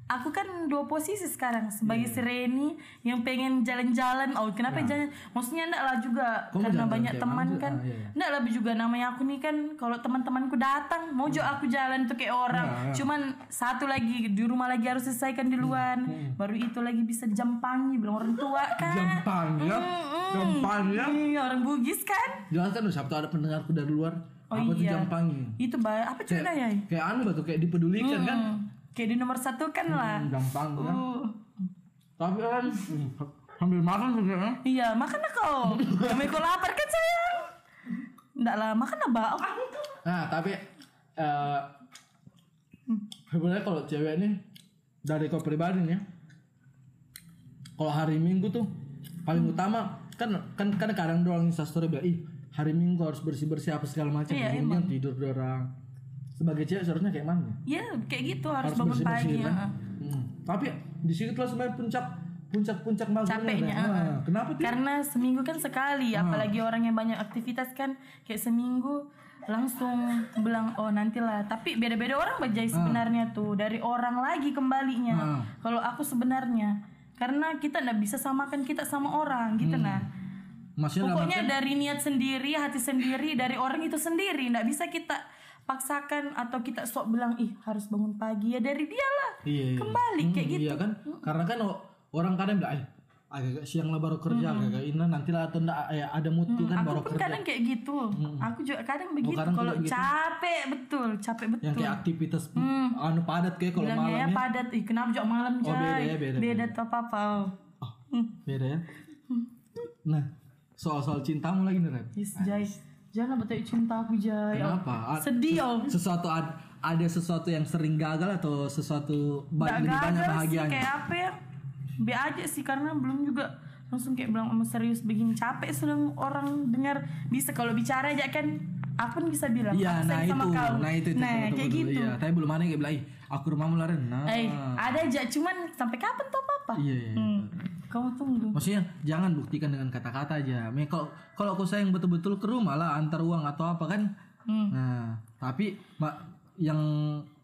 [SPEAKER 2] aku kan dua posisi sekarang sebagai
[SPEAKER 1] Iya.
[SPEAKER 2] Sireni yang pengen jalan-jalan. Oh, kenapa jalan? Maksudnya enggak lah juga
[SPEAKER 1] Kamu
[SPEAKER 2] karena
[SPEAKER 1] Iya. jalan-jalan
[SPEAKER 2] banyak
[SPEAKER 1] tiap
[SPEAKER 2] teman
[SPEAKER 1] malam tuh,
[SPEAKER 2] kan.
[SPEAKER 1] ah, iya, iya.
[SPEAKER 2] Enggak lebih juga namanya aku nih kan kalau teman-temanku datang mau
[SPEAKER 1] Iya.
[SPEAKER 2] jo aku jalan tuh kayak orang. Cuman satu lagi di rumah lagi harus selesaikan di luar.
[SPEAKER 1] Hmm,
[SPEAKER 2] Baru itu lagi bisa dijampangi bilang orang tua kan.
[SPEAKER 1] gampang ya
[SPEAKER 2] hmm.
[SPEAKER 1] gampang ya
[SPEAKER 2] Iya, orang Bugis kan.
[SPEAKER 1] jelaskan dong siapa tahu ada pendengarku dari luar
[SPEAKER 2] Oh,
[SPEAKER 1] apa tuh
[SPEAKER 2] iya.
[SPEAKER 1] jampangi
[SPEAKER 2] Itu ba- apa cuy ya?
[SPEAKER 1] kayak anu batu kayak dipedulikan
[SPEAKER 2] Hmm.
[SPEAKER 1] kan
[SPEAKER 2] Kayak di nomor satu kan lah.
[SPEAKER 1] gampang kan
[SPEAKER 2] Uh,
[SPEAKER 1] tapi kan sambil makan juga kan
[SPEAKER 2] iya, makanlah kau. Kami kau lapar kan sayang. kan Enggak lah, makanlah bau.
[SPEAKER 1] Nah, tapi eh sebenarnya kalau cewek nih dari kau pribadi nih ya, kalau hari Minggu tuh paling utama kan kan kan kadang doang instastory bilang ih hari Minggu harus bersih bersih apa segala macam
[SPEAKER 2] Iya,
[SPEAKER 1] kemudian tidur dorang sebagai cewek seharusnya kayak mana ya?
[SPEAKER 2] Ya, kayak gitu harus, bangun
[SPEAKER 1] bersih
[SPEAKER 2] pagi.
[SPEAKER 1] kan?
[SPEAKER 2] ya.
[SPEAKER 1] Hmm. tapi di situ lah sebenarnya puncak puncak puncak maghribnya
[SPEAKER 2] Capeknya,
[SPEAKER 1] kan? Nah, kenapa tuh
[SPEAKER 2] Karena seminggu kan sekali, apalagi orang yang banyak aktivitas kan kayak seminggu langsung bilang oh nantilah. Tapi beda-beda orang bajai sebenarnya tuh dari orang lagi kembalinya. Kalau aku sebenarnya karena kita nggak bisa samakan kita sama orang gitu nah.
[SPEAKER 1] maksudnya dalam-
[SPEAKER 2] Pokoknya dari niat sendiri, hati sendiri, dari orang itu sendiri. Nggak bisa kita paksakan atau kita sok bilang, ih harus bangun pagi. Ya dari dia lah.
[SPEAKER 1] Iya, iya.
[SPEAKER 2] Kembali kayak
[SPEAKER 1] Hmm,
[SPEAKER 2] gitu.
[SPEAKER 1] Iya kan? Karena kan o- orang kadang bilang, "Eh, agak siang lah baru kerja, agak ini nanti lah atau enggak eh, ada mutu kan
[SPEAKER 2] Mm, Aku
[SPEAKER 1] baru
[SPEAKER 2] pun
[SPEAKER 1] kerja." Hmm.
[SPEAKER 2] kadang kayak gitu. Aku juga kadang begitu.
[SPEAKER 1] kadang
[SPEAKER 2] Kalau
[SPEAKER 1] juga gitu.
[SPEAKER 2] capek, betul. Capek betul. Mm.
[SPEAKER 1] Yang kayak aktivitas anu padat kayak kalau
[SPEAKER 2] Bilangnya ya
[SPEAKER 1] malam ya.
[SPEAKER 2] padat. Ih kenapa juga malam, Jai?
[SPEAKER 1] beda ya, beda,
[SPEAKER 2] tuh apa-apa.
[SPEAKER 1] Oh, beda ya. Nah, soal-soal cintamu lagi nih, Rep.
[SPEAKER 2] Yes, Jai. Jangan betul cinta aku, Jai.
[SPEAKER 1] Kenapa? A-
[SPEAKER 2] Sedih, oh.
[SPEAKER 1] sesuatu ad- ada sesuatu yang sering gagal atau sesuatu ba-
[SPEAKER 2] Gak
[SPEAKER 1] lebih banyak
[SPEAKER 2] gagal sih
[SPEAKER 1] bahagianya?
[SPEAKER 2] kayak apa ya Be aja sih karena belum juga langsung kayak bilang "Om, serius begini capek sedang orang dengar bisa kalau bicara aja kan aku pun bisa bilang
[SPEAKER 1] Iya, nah
[SPEAKER 2] aku sayang
[SPEAKER 1] itu,
[SPEAKER 2] sama kau
[SPEAKER 1] nah itu, itu
[SPEAKER 2] nah
[SPEAKER 1] betul-betul,
[SPEAKER 2] kayak
[SPEAKER 1] betul,
[SPEAKER 2] gitu
[SPEAKER 1] Iya. Tapi belum ada yang kayak bilang, "Ih, aku rumahmu laren." Nah,
[SPEAKER 2] eh ada aja cuman sampai kapan tuh papa
[SPEAKER 1] iya, iya.
[SPEAKER 2] hmm, kamu tunggu
[SPEAKER 1] Maksudnya jangan buktikan dengan kata-kata aja. Me- Kalau kalau aku sayang betul-betul ke rumah lah antar uang atau apa kan.
[SPEAKER 2] Hmm.
[SPEAKER 1] Nah, tapi ma- yang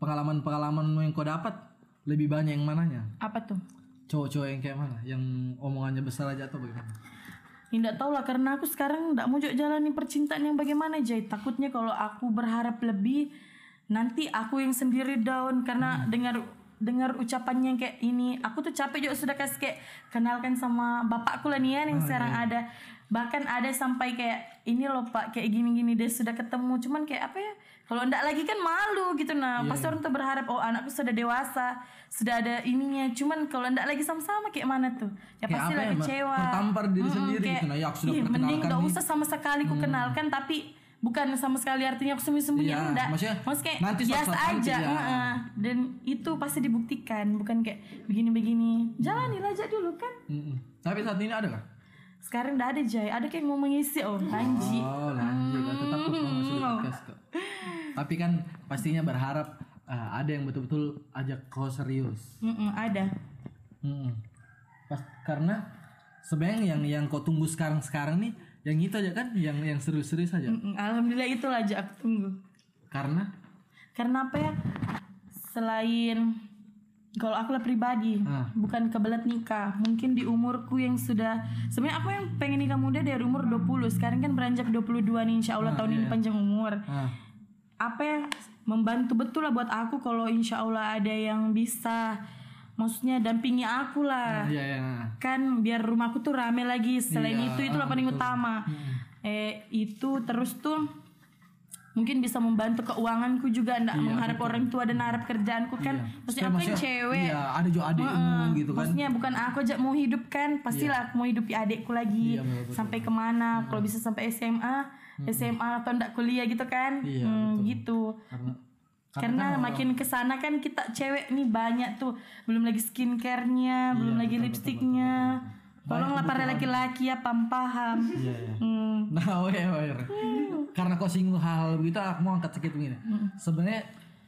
[SPEAKER 1] pengalaman-pengalamanmu yang kau dapat lebih banyak yang mananya?
[SPEAKER 2] apa tuh
[SPEAKER 1] Cowok-cowok yang kayak mana? Yang omongannya besar aja atau bagaimana?
[SPEAKER 2] Tidak tahu lah karena aku sekarang tidak mau juga jalani percintaan yang bagaimana Jai. Takutnya kalau aku berharap lebih nanti aku yang sendiri
[SPEAKER 1] Hmm.
[SPEAKER 2] down karena dengar dengar ucapannya yang kayak ini aku tuh capek juga sudah kasih kayak kenalkan sama bapakku lah nih ya
[SPEAKER 1] Oh,
[SPEAKER 2] yang sekarang
[SPEAKER 1] iya.
[SPEAKER 2] ada bahkan ada sampai kayak ini loh pak kayak gini-gini dia sudah ketemu cuman kayak apa ya kalau ndak lagi kan malu gitu nah
[SPEAKER 1] Iya.
[SPEAKER 2] pasti orang tuh berharap oh anakku sudah dewasa sudah ada ininya cuman kalau ndak lagi sama-sama kayak mana tuh
[SPEAKER 1] Kayak
[SPEAKER 2] ya pasti
[SPEAKER 1] apa
[SPEAKER 2] lah
[SPEAKER 1] ya, Ma?
[SPEAKER 2] kecewa Hmm,
[SPEAKER 1] Tertampar diri
[SPEAKER 2] Mm-mm,
[SPEAKER 1] sendiri gitu. Nah, ya aku sudah
[SPEAKER 2] "Ih, Iya, mending
[SPEAKER 1] perkenalkan
[SPEAKER 2] gak
[SPEAKER 1] nih." Hmm.
[SPEAKER 2] usah sama sekali ku kenalkan tapi bukan sama sekali artinya aku sembunyi-sembunyi
[SPEAKER 1] Iya,
[SPEAKER 2] enggak
[SPEAKER 1] maksudnya
[SPEAKER 2] kayak
[SPEAKER 1] nanti suatu
[SPEAKER 2] biasa
[SPEAKER 1] saat nanti,
[SPEAKER 2] aja
[SPEAKER 1] ya.
[SPEAKER 2] heeh. dan itu pasti dibuktikan bukan kayak begini-begini jalani aja dulu kan
[SPEAKER 1] Mm-mm. Tapi saat ini ada nggak?
[SPEAKER 2] sekarang udah ada Jai ada kayak mau mengisi oh Panji
[SPEAKER 1] Oh, lanjut. Nah, Tetap aku masih
[SPEAKER 2] Hmm.
[SPEAKER 1] di podcast kok. Tapi kan pastinya berharap eh, ada yang betul-betul ajak kau serius.
[SPEAKER 2] Mm-mm, ada
[SPEAKER 1] Mm-mm. Pas karena sebenarnya yang yang kau tunggu sekarang sekarang nih yang itu aja kan yang yang serius-serius aja
[SPEAKER 2] Mm-mm, alhamdulillah itulah aja aku tunggu
[SPEAKER 1] karena
[SPEAKER 2] karena apa ya selain kalau aku lah pribadi
[SPEAKER 1] Ah.
[SPEAKER 2] bukan kebelet nikah mungkin di umurku yang sudah sebenarnya aku yang pengen nikah muda dari umur 20 sekarang kan beranjak 22 nih insya Allah tahun ini panjang umur
[SPEAKER 1] ah,
[SPEAKER 2] apa ya membantu betul lah buat aku kalau insya Allah ada yang bisa maksudnya dampingi aku lah
[SPEAKER 1] iya ya
[SPEAKER 2] kan biar rumahku tuh rame Iya, Hmm. lagi selain itu itu paling utama eh itu terus tuh mungkin bisa membantu keuanganku juga enggak mengharap orang tua dan harap kerjaanku kan Iya, maksudnya aku yang cewek
[SPEAKER 1] Iya, ada juga adikmu
[SPEAKER 2] Heeh.
[SPEAKER 1] gitu kan.
[SPEAKER 2] Maksudnya bukan "Ah, aku aja mau hidup kan, pastilah aku mau hidupi adikku lagi
[SPEAKER 1] Iya, betul, Iya. betul.
[SPEAKER 2] sampai kemana? Kalau bisa sampai SMA, SMA atau enggak kuliah gitu kan?
[SPEAKER 1] Iya,
[SPEAKER 2] Hmm, gitu.
[SPEAKER 1] Karena
[SPEAKER 2] Karena makin kesana kan kita cewek nih banyak tuh, belum lagi
[SPEAKER 1] Iya,
[SPEAKER 2] skincarenya, belum lagi lipstiknya. Tolonglah para laki-laki ya paham paham.
[SPEAKER 1] iya iya.
[SPEAKER 2] Hmm,
[SPEAKER 1] Nah, oh iya, oh iya. Karena kau singgung hal-hal begitu, aku mau angkat sedikit begini. Sebenarnya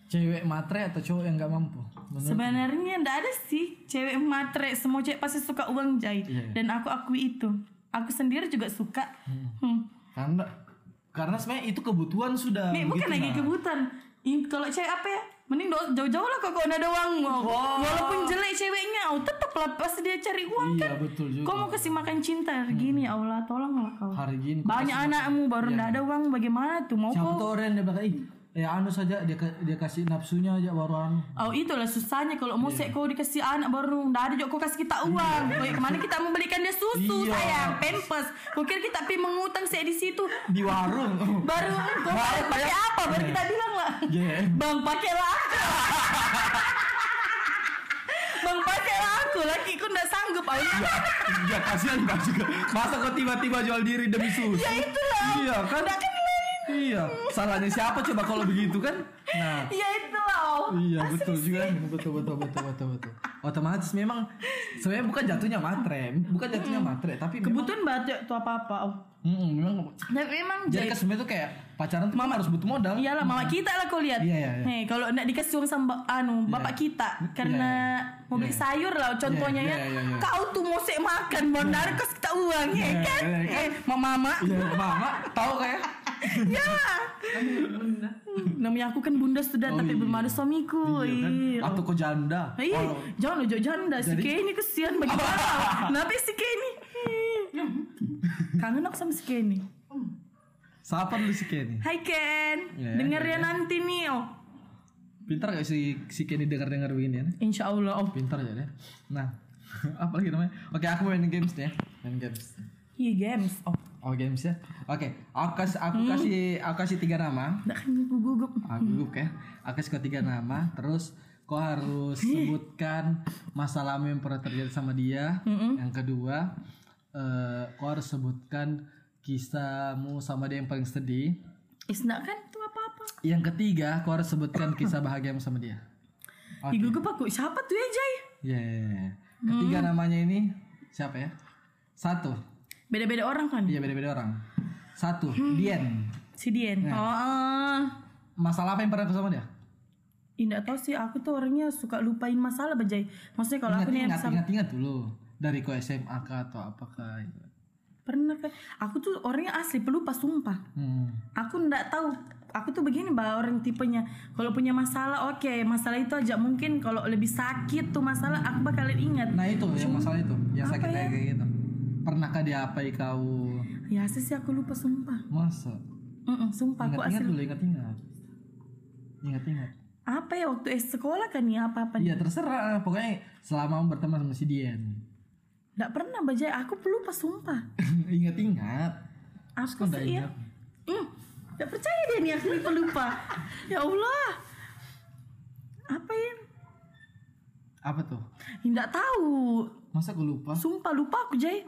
[SPEAKER 1] cewek matre atau cowok yang nggak mampu? Menurut-
[SPEAKER 2] Sebenarnya enggak ada sih cewek matre, semua cewek pasti suka uang jai
[SPEAKER 1] Iya.
[SPEAKER 2] dan aku akui itu. Aku sendiri juga suka. Hmm.
[SPEAKER 1] Karena karena sebenarnya itu kebutuhan sudah.
[SPEAKER 2] Nih, bukan
[SPEAKER 1] begitu,
[SPEAKER 2] lagi
[SPEAKER 1] nah.
[SPEAKER 2] kebutuhan. In- Kalau cewek apa ya? Mending do- jauh-jauh lah kalau ada uang. Walaupun jelek ceweknya, oh, tetap lah pasti dia cari
[SPEAKER 1] Iya
[SPEAKER 2] uang kan.
[SPEAKER 1] betul juga. Hmm.
[SPEAKER 2] Kau mau kasih makan cinta hari gini ya Allah tolonglah kau.
[SPEAKER 1] Hari gini
[SPEAKER 2] Banyak anakmu baru ndak ada uang bagaimana tuh mau
[SPEAKER 1] Iya. siapa
[SPEAKER 2] kau?
[SPEAKER 1] tuh orang yang dia bilang, "Ih, ya anu saja dia ka- dia kasih nafsunya aja baru anu.
[SPEAKER 2] Oh itulah susahnya kalau
[SPEAKER 1] Iya.
[SPEAKER 2] mau sek kau dikasih anak baru ndak ada juga kau kasih kita uang. Kau kemana kita mau belikan dia susu
[SPEAKER 1] Iya.
[SPEAKER 2] sayang, pampers. Kau kira kita pergi mengutang sek di situ.
[SPEAKER 1] Di warung.
[SPEAKER 2] Baru kau pakai apa? Baru kita bilang lah.
[SPEAKER 1] ya? Iya.
[SPEAKER 2] Bang pakailah aku. Bang pakailah aku. Lakiku ndak sanggup. Akhirnya
[SPEAKER 1] Iya,
[SPEAKER 3] Ya kasihan kau juga. Masa kau tiba-tiba jual diri demi susu?
[SPEAKER 2] ya itulah.
[SPEAKER 3] Iya kan?
[SPEAKER 2] Ndak kan lain.
[SPEAKER 3] Iya. Salahnya siapa coba kalau begitu kan?
[SPEAKER 1] Nah,
[SPEAKER 2] Ya itulah. oh.
[SPEAKER 1] Iya betul juga betul betul betul betul betul. Otomatis memang sebenarnya bukan jatuhnya matre, bukan jatuhnya matre tapi memang,
[SPEAKER 2] Kebutuhan batuk tuh apa-apa. Oh.
[SPEAKER 1] Mm-mm, memang
[SPEAKER 2] Dan Ya, memang
[SPEAKER 1] jadi
[SPEAKER 2] jadi
[SPEAKER 1] kan sebenarnya tuh kayak pacaran tuh memang harus butuh modal.
[SPEAKER 2] Iyalah mama kita lah kau lihat.
[SPEAKER 1] Iya, iya, iya.
[SPEAKER 2] Hei, kalau ndak dikasih uang sama ba- anu bapak kita karena mau beli sayur lah contohnya
[SPEAKER 1] iya,
[SPEAKER 2] ya.
[SPEAKER 1] iya, iya.
[SPEAKER 2] Kau tuh mau sek makan bandar kas kita uang ya
[SPEAKER 1] Iya,
[SPEAKER 2] kan?
[SPEAKER 1] iya, iya.
[SPEAKER 2] Eh, mama mama.
[SPEAKER 1] Iya, mama kan? tahu kayak
[SPEAKER 2] Ya. Namanya aku kan bunda sudah tapi belum ada
[SPEAKER 1] Oh,
[SPEAKER 2] suamiku.
[SPEAKER 1] Iya kan?
[SPEAKER 2] Iya.
[SPEAKER 1] atau kok janda.
[SPEAKER 2] Hei,
[SPEAKER 1] Kalau-
[SPEAKER 2] jangan ojo janda si Kay ini kesian bagaimana? Kenapa si Kay ini? Hmm. Kangen aku sama si Kay ini.
[SPEAKER 1] Siapa dulu si Kenny?
[SPEAKER 2] Hai Ken,
[SPEAKER 1] Iya,
[SPEAKER 2] denger ya nanti nih oh.
[SPEAKER 1] Pintar gak si si Kenny dengar dengar begini ya?
[SPEAKER 2] Insya Allah oh.
[SPEAKER 1] Pintar ya deh. Nah, apa lagi namanya? Oke, aku main games nih ya. Main games.
[SPEAKER 2] Iya games oh.
[SPEAKER 1] Oh games ya. Oke, aku kasih aku kasih aku kasih tiga nama.
[SPEAKER 2] Nggak kan aku gugup.
[SPEAKER 1] Aku gugup ya. Aku kasih kau tiga nama, terus kau harus sebutkan masalahmu yang pernah terjadi sama dia. Yang kedua, eh, kau harus sebutkan kisahmu sama dia yang paling sedih.
[SPEAKER 2] Is nggak kan tuh apa-apa.
[SPEAKER 1] Yang ketiga, kau harus sebutkan kisah bahagiamu sama dia.
[SPEAKER 2] Ih, gugup aku siapa tuh ya Jai?
[SPEAKER 1] Ya, ya, ya. Ketiga
[SPEAKER 2] Hmm.
[SPEAKER 1] namanya ini siapa ya? Satu.
[SPEAKER 2] Beda-beda orang kan.
[SPEAKER 1] Iya beda-beda orang. Satu,
[SPEAKER 2] Hmm.
[SPEAKER 1] Dian.
[SPEAKER 2] Si Dien.
[SPEAKER 1] Ya.
[SPEAKER 2] Oh. ah.
[SPEAKER 1] Masalah apa yang pernah kau sama dia?
[SPEAKER 2] Ih, nggak tahu sih aku tuh orangnya suka lupain masalah Bajai. Maksudnya kalau
[SPEAKER 1] Ingat,
[SPEAKER 2] aku nih yang
[SPEAKER 1] ingat,
[SPEAKER 2] sama
[SPEAKER 1] ingat, ingat dulu. Dari kau SMA kah gitu. atau apakah itu?
[SPEAKER 2] pernah kan aku tuh orangnya asli pelupa sumpah.
[SPEAKER 1] Hmm.
[SPEAKER 2] aku ndak tahu aku tuh begini mbak orang tipenya kalau punya masalah oke masalah itu aja mungkin kalau lebih sakit tuh masalah aku bakalan ingat
[SPEAKER 1] Nah itu yang masalah itu yang
[SPEAKER 2] Hmm. Apa
[SPEAKER 1] sakit
[SPEAKER 2] ya?
[SPEAKER 1] kayak gitu. Pernahkah diapai kau?
[SPEAKER 2] ya asli sih aku lupa sumpah
[SPEAKER 1] Masa?
[SPEAKER 2] Mm-mm, sumpah aku
[SPEAKER 1] Ingat-ingat
[SPEAKER 2] asli
[SPEAKER 1] dulu, ingat-ingat. Ingat-ingat.
[SPEAKER 2] apa ya waktu es sekolah kan ya apa apa
[SPEAKER 1] Iya terserah, pokoknya selama berteman sama si Dian.
[SPEAKER 2] ndak pernah baca aku lupa sumpah
[SPEAKER 1] Ingat-ingat.
[SPEAKER 2] aku
[SPEAKER 1] nggak
[SPEAKER 2] sih ya
[SPEAKER 1] ingat?
[SPEAKER 2] Mm, nggak percaya deh nih aku lupa lupa ya allah apa ya
[SPEAKER 1] Apa tuh?
[SPEAKER 2] Ih, nggak tahu
[SPEAKER 1] Masa aku lupa?
[SPEAKER 2] sumpah lupa aku jay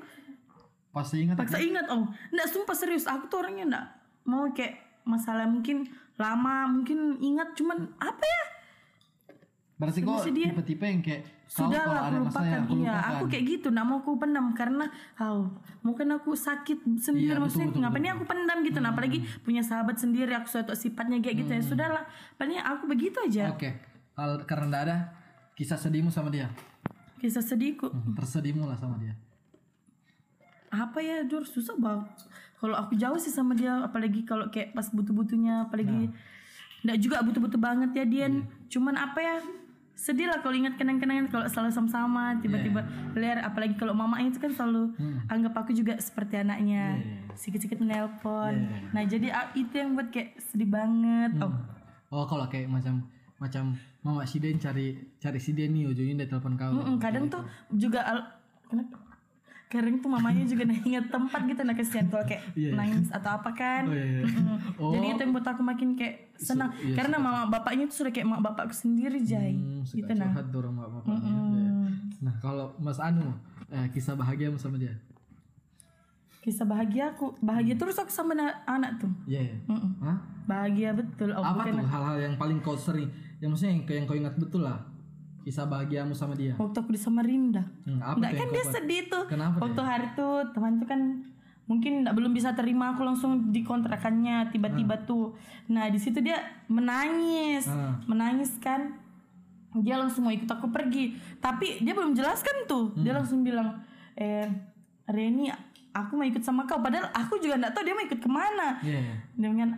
[SPEAKER 1] Pasti ingat.
[SPEAKER 2] paksa ingat om nggak sumpah serius aku tuh orangnya nggak mau kayak masalah mungkin lama mungkin ingat cuman apa ya
[SPEAKER 1] Berarti kok
[SPEAKER 2] Sama si Dian.
[SPEAKER 1] tipe-tipe yang kayak tahu
[SPEAKER 2] sudah
[SPEAKER 1] Oh, kalau
[SPEAKER 2] lah
[SPEAKER 1] ada
[SPEAKER 2] aku
[SPEAKER 1] masalah
[SPEAKER 2] lupakan
[SPEAKER 1] yang aku
[SPEAKER 2] iya
[SPEAKER 1] lupakan.
[SPEAKER 2] aku kayak gitu nggak mau aku pendam karena oh, mungkin aku sakit sendiri
[SPEAKER 1] Iya, betul,
[SPEAKER 2] maksudnya
[SPEAKER 1] betul, Hmm,
[SPEAKER 2] ngapain aku pendam gitu nah apalagi punya sahabat sendiri aku suatu sifatnya kayak gitu ya sudah lah paling aku begitu aja
[SPEAKER 1] Oke. Kalau karena enggak ada kisah sedihmu sama dia.
[SPEAKER 2] kisah sedihku
[SPEAKER 1] Tersedihmu lah sama dia.
[SPEAKER 2] apa ya Dur susah banget kalau aku jauh sih sama dia apalagi kalau kayak pas butuh-butuhnya apalagi nggak juga butuh-butuh banget ya Dian cuman apa ya sedih lah kalau ingat kenang-kenangan kalau selalu sama-sama tiba-tiba liar apalagi kalau mama itu kan selalu anggap aku juga seperti anaknya sikit-sikit menelpon nah jadi ah, itu yang buat kayak sedih banget oh
[SPEAKER 1] Oh kalau kayak macam macam mama si Oh, Den cari cari si Den nih ujungnya dia telepon kau.
[SPEAKER 2] Mm-mm, kadang tuh juga al- kenapa? kering tuh mamanya juga nggak inget tempat gitu nah kesian kalau kayak
[SPEAKER 1] Iya, iya.
[SPEAKER 2] nangis atau apa kan
[SPEAKER 1] Oh, iya, iya.
[SPEAKER 2] Mm-mm.
[SPEAKER 1] Oh.
[SPEAKER 2] jadi itu yang buat aku makin kayak senang
[SPEAKER 1] iya,
[SPEAKER 2] karena mama bapaknya tuh sudah kayak mak bapakku sendiri jai
[SPEAKER 1] Hmm, suka
[SPEAKER 2] gitu nah
[SPEAKER 1] curhat Iya, dorong bapak-bapaknya. Nah, kalau Mas Anu, eh, kisah bahagiamu sama dia?
[SPEAKER 2] kisah bahagia aku bahagia
[SPEAKER 1] Hmm.
[SPEAKER 2] terus aku sama na- anak tuh
[SPEAKER 1] Iya, iya.
[SPEAKER 2] Mm-mm.
[SPEAKER 1] Hah?
[SPEAKER 2] bahagia betul oh,
[SPEAKER 1] Apa
[SPEAKER 2] bukan-
[SPEAKER 1] tuh hal-hal yang paling kau sering? Yang maksudnya yang, yang kau ingat betul lah. Kisah bahagiamu sama dia.
[SPEAKER 2] waktu aku di Samarinda
[SPEAKER 1] Hmm, apa
[SPEAKER 2] Oh. nggak
[SPEAKER 1] tuh
[SPEAKER 2] kan
[SPEAKER 1] yang
[SPEAKER 2] dia
[SPEAKER 1] kau-
[SPEAKER 2] sedih tuh
[SPEAKER 1] Kenapa
[SPEAKER 2] waktu hari tuh teman tuh kan mungkin nggak- belum bisa terima aku langsung di kontrakannya tiba-tiba tuh nah di situ dia menangis
[SPEAKER 1] Ah.
[SPEAKER 2] menangis kan dia langsung mau ikut aku pergi tapi dia belum jelaskan tuh dia
[SPEAKER 1] Hmm.
[SPEAKER 2] langsung bilang eh Reni aku mau ikut sama kau padahal aku juga nggak tahu dia mau ikut kemana
[SPEAKER 1] Iya, iya.
[SPEAKER 2] dengan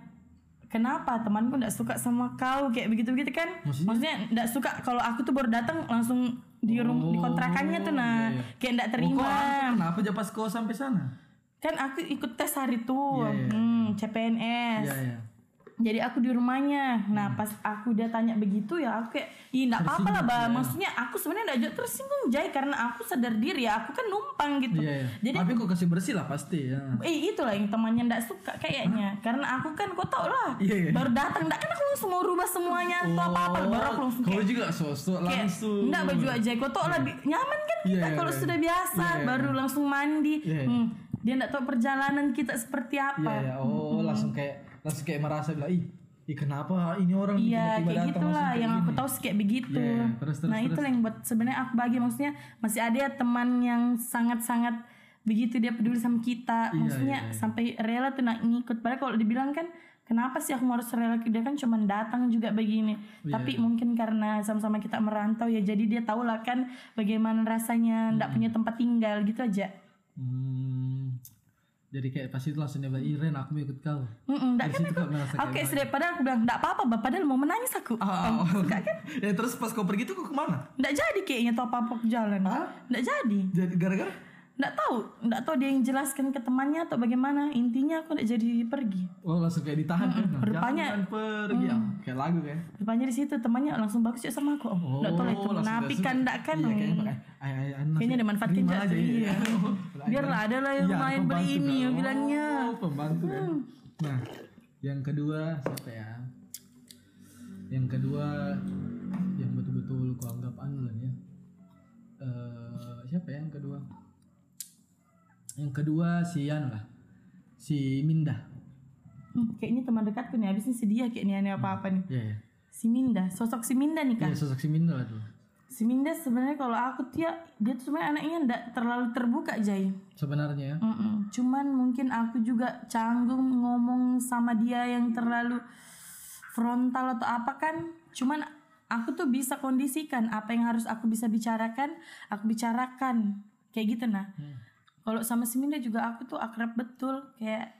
[SPEAKER 2] kenapa temanku nggak suka sama kau kayak begitu begitu kan
[SPEAKER 1] Maksudnya?
[SPEAKER 2] maksudnya nggak suka kalau aku tuh baru datang langsung di rum di kontrakannya tuh
[SPEAKER 1] Oh,
[SPEAKER 2] nah
[SPEAKER 1] iya, iya.
[SPEAKER 2] kayak nggak
[SPEAKER 1] Oh, kok
[SPEAKER 2] terima
[SPEAKER 1] Anu tuh kenapa aja pas kau sampai sana?
[SPEAKER 2] kan aku ikut tes hari tuh
[SPEAKER 1] Iya, iya,
[SPEAKER 2] hmm, CPNS
[SPEAKER 1] Iya, Hmm. iya.
[SPEAKER 2] jadi aku di rumahnya nah pas aku dia tanya begitu ya aku kayak ih nggak apa-apa lah bah maksudnya aku sebenarnya nggak jauh tersinggung jai karena aku sadar diri ya aku kan numpang gitu
[SPEAKER 1] Iya, iya.
[SPEAKER 2] jadi
[SPEAKER 1] Tapi kau kasih bersih lah pasti ya.
[SPEAKER 2] Eh itulah yang temannya ndak suka kayaknya Karena aku kan kau tau lah
[SPEAKER 1] Iya, iya.
[SPEAKER 2] Baru datang ndak kan aku langsung mau rubah semuanya Atau Kan apa-apa Baru aku langsung
[SPEAKER 1] kau
[SPEAKER 2] kayak
[SPEAKER 1] Oh, juga sosok
[SPEAKER 2] kayak,
[SPEAKER 1] langsung.
[SPEAKER 2] ndak baju aja kau tau lah bi- nyaman kan
[SPEAKER 1] Iya,
[SPEAKER 2] kita
[SPEAKER 1] iya,
[SPEAKER 2] kalau
[SPEAKER 1] iya.
[SPEAKER 2] sudah biasa
[SPEAKER 1] Iya, iya.
[SPEAKER 2] baru langsung mandi
[SPEAKER 1] Iya, iya.
[SPEAKER 2] Hmm, dia ndak tahu perjalanan kita seperti
[SPEAKER 1] Iya,
[SPEAKER 2] apa
[SPEAKER 1] iya. Oh, langsung kayak langsung kayak merasa bilang, "Ih, ih kenapa ini orang
[SPEAKER 2] Iya
[SPEAKER 1] tiba-tiba
[SPEAKER 2] kayak
[SPEAKER 1] datang langsung
[SPEAKER 2] gitulah
[SPEAKER 1] kayak
[SPEAKER 2] yang aku
[SPEAKER 1] gini?"
[SPEAKER 2] tahu sih kayak begitu.
[SPEAKER 1] Iya, iya. Terus, terus,
[SPEAKER 2] nah itu
[SPEAKER 1] terus.
[SPEAKER 2] yang buat sebenarnya aku bagi maksudnya masih ada ya teman yang sangat-sangat begitu dia peduli sama kita.
[SPEAKER 1] Iya,
[SPEAKER 2] maksudnya
[SPEAKER 1] iya, iya.
[SPEAKER 2] sampai rela tuh nak ngikut. Padahal kalau dibilang kan kenapa sih aku harus rela dia kan cuma datang juga begini.
[SPEAKER 1] Iya,
[SPEAKER 2] Tapi
[SPEAKER 1] iya.
[SPEAKER 2] mungkin karena sama-sama kita merantau ya jadi dia tahu lah kan bagaimana rasanya ndak punya tempat tinggal gitu aja.
[SPEAKER 1] Hmm. Jadi kayak pasti itu langsung dia bilang, "Ih, Ren, aku mau ikut kau."
[SPEAKER 2] Mm-mm, ndak
[SPEAKER 1] Dari
[SPEAKER 2] kan
[SPEAKER 1] Iya, situ
[SPEAKER 2] aku.
[SPEAKER 1] kau merasa kayak
[SPEAKER 2] Oke,
[SPEAKER 1] bahagia.
[SPEAKER 2] sudah padahal aku bilang ndak apa-apa, Bapak, padahal mau menangis aku.
[SPEAKER 1] Oh.
[SPEAKER 2] Suka kan?
[SPEAKER 1] ya terus pas kau pergi tuh kau kemana?
[SPEAKER 2] Nggak jadi kayaknya tuh apa-apa ke jalan.
[SPEAKER 1] Hah?
[SPEAKER 2] Nggak jadi.
[SPEAKER 1] Jadi gara-gara
[SPEAKER 2] Nggak tahu. Nggak tahu dia yang jelaskan ke temannya atau bagaimana. Intinya aku nggak jadi pergi.
[SPEAKER 1] Oh langsung kayak ditahan kan? Nah,
[SPEAKER 2] rupanya- Mm.
[SPEAKER 1] jangan pergi Ah, kayak lagu kan?
[SPEAKER 2] Rupanya di situ temannya langsung bagus ya sama aku. Oh, nggak tahu lah itu
[SPEAKER 1] langsung
[SPEAKER 2] menafikan
[SPEAKER 1] dia suka.
[SPEAKER 2] ndak kan.
[SPEAKER 1] Iya,
[SPEAKER 2] Hmm.
[SPEAKER 1] kayaknya pakai. Ay, ay, ay,
[SPEAKER 2] Kayaknya
[SPEAKER 1] langsung,
[SPEAKER 2] ada manfaatnya
[SPEAKER 1] terima
[SPEAKER 2] nggak
[SPEAKER 1] aja,
[SPEAKER 2] tuh, iya.
[SPEAKER 1] Oh,
[SPEAKER 2] Biarlah ada lah
[SPEAKER 1] ya,
[SPEAKER 2] yang
[SPEAKER 1] Iya,
[SPEAKER 2] main beli
[SPEAKER 1] pembantu
[SPEAKER 2] ini,
[SPEAKER 1] kan.
[SPEAKER 2] yang bilangnya. Hmm.
[SPEAKER 1] Oh, pembantu kan. Nah, yang kedua siapa ya? Yang kedua yang betul-betul kau anggap anu lah ya. Eh, siapa ya yang kedua? Yang kedua si Anu lah. Si Minda.
[SPEAKER 2] Hmm, kayaknya teman dekatku nih. Habisnya si dia kayaknya aneh apa-apa nih.
[SPEAKER 1] Iya, iya.
[SPEAKER 2] Si Minda. Sosok si Minda nih
[SPEAKER 1] Iya,
[SPEAKER 2] kan.
[SPEAKER 1] sosok si Minda lah tuh.
[SPEAKER 2] Si Minda sebenarnya kalau aku dia dia tuh sebenarnya anaknya nggak terlalu terbuka Jai.
[SPEAKER 1] Sebenarnya ya.
[SPEAKER 2] Mm-mm. Cuman mungkin aku juga canggung ngomong sama dia yang terlalu frontal atau apa kan. Cuman aku tuh bisa kondisikan apa yang harus aku bisa bicarakan, aku bicarakan. Kayak gitu nah.
[SPEAKER 1] Hmm.
[SPEAKER 2] Kalau sama si Minda juga aku tuh akrab betul kayak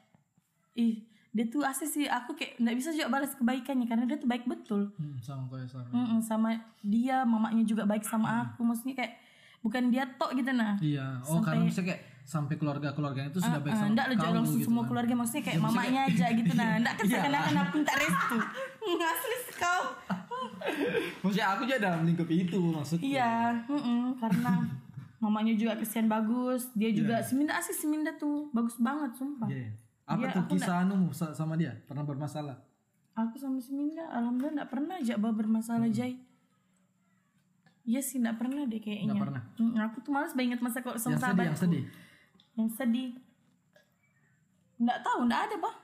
[SPEAKER 2] ih dia tuh asli sih aku kayak nggak bisa juga balas kebaikannya karena dia tuh baik betul.
[SPEAKER 1] Hmm, sama kau ya sama.
[SPEAKER 2] Mm-mm, sama dia mamanya juga baik sama aku maksudnya kayak bukan dia tok gitu nah.
[SPEAKER 1] Iya, oh
[SPEAKER 2] Sampai-
[SPEAKER 1] karena misalnya kayak sampai keluarga-keluarganya itu sudah baik
[SPEAKER 2] Ah,
[SPEAKER 1] sama
[SPEAKER 2] Nggak lah,
[SPEAKER 1] kamu
[SPEAKER 2] jangan langsung
[SPEAKER 1] gitu
[SPEAKER 2] semua
[SPEAKER 1] kan.
[SPEAKER 2] keluarga maksudnya kayak
[SPEAKER 1] Ya, maksudnya
[SPEAKER 2] mamanya aja gitu nah enggak kan
[SPEAKER 1] Iya.
[SPEAKER 2] seakan-akan aku minta restu ngasih kau
[SPEAKER 1] Maksudnya aku juga dalam lingkup itu maksudnya.
[SPEAKER 2] iya mm-mm, karena mamanya juga kesian bagus dia juga seminda asih seminda tuh bagus banget sumpah
[SPEAKER 1] Iya. Apa
[SPEAKER 2] Iya,
[SPEAKER 1] tuh
[SPEAKER 2] aku
[SPEAKER 1] kisah anumu sa- sama dia? Pernah bermasalah?
[SPEAKER 2] aku sama seminda alhamdulillah nggak pernah aja bah bermasalah jai Iya sih nggak pernah deh kayaknya
[SPEAKER 1] Nggak pernah.
[SPEAKER 2] Mm, aku tuh malas banget masa kalau sama
[SPEAKER 1] Yang sedih, yang
[SPEAKER 2] sahabatku.
[SPEAKER 1] sedih.
[SPEAKER 2] yang sedih nggak tahu nggak ada bah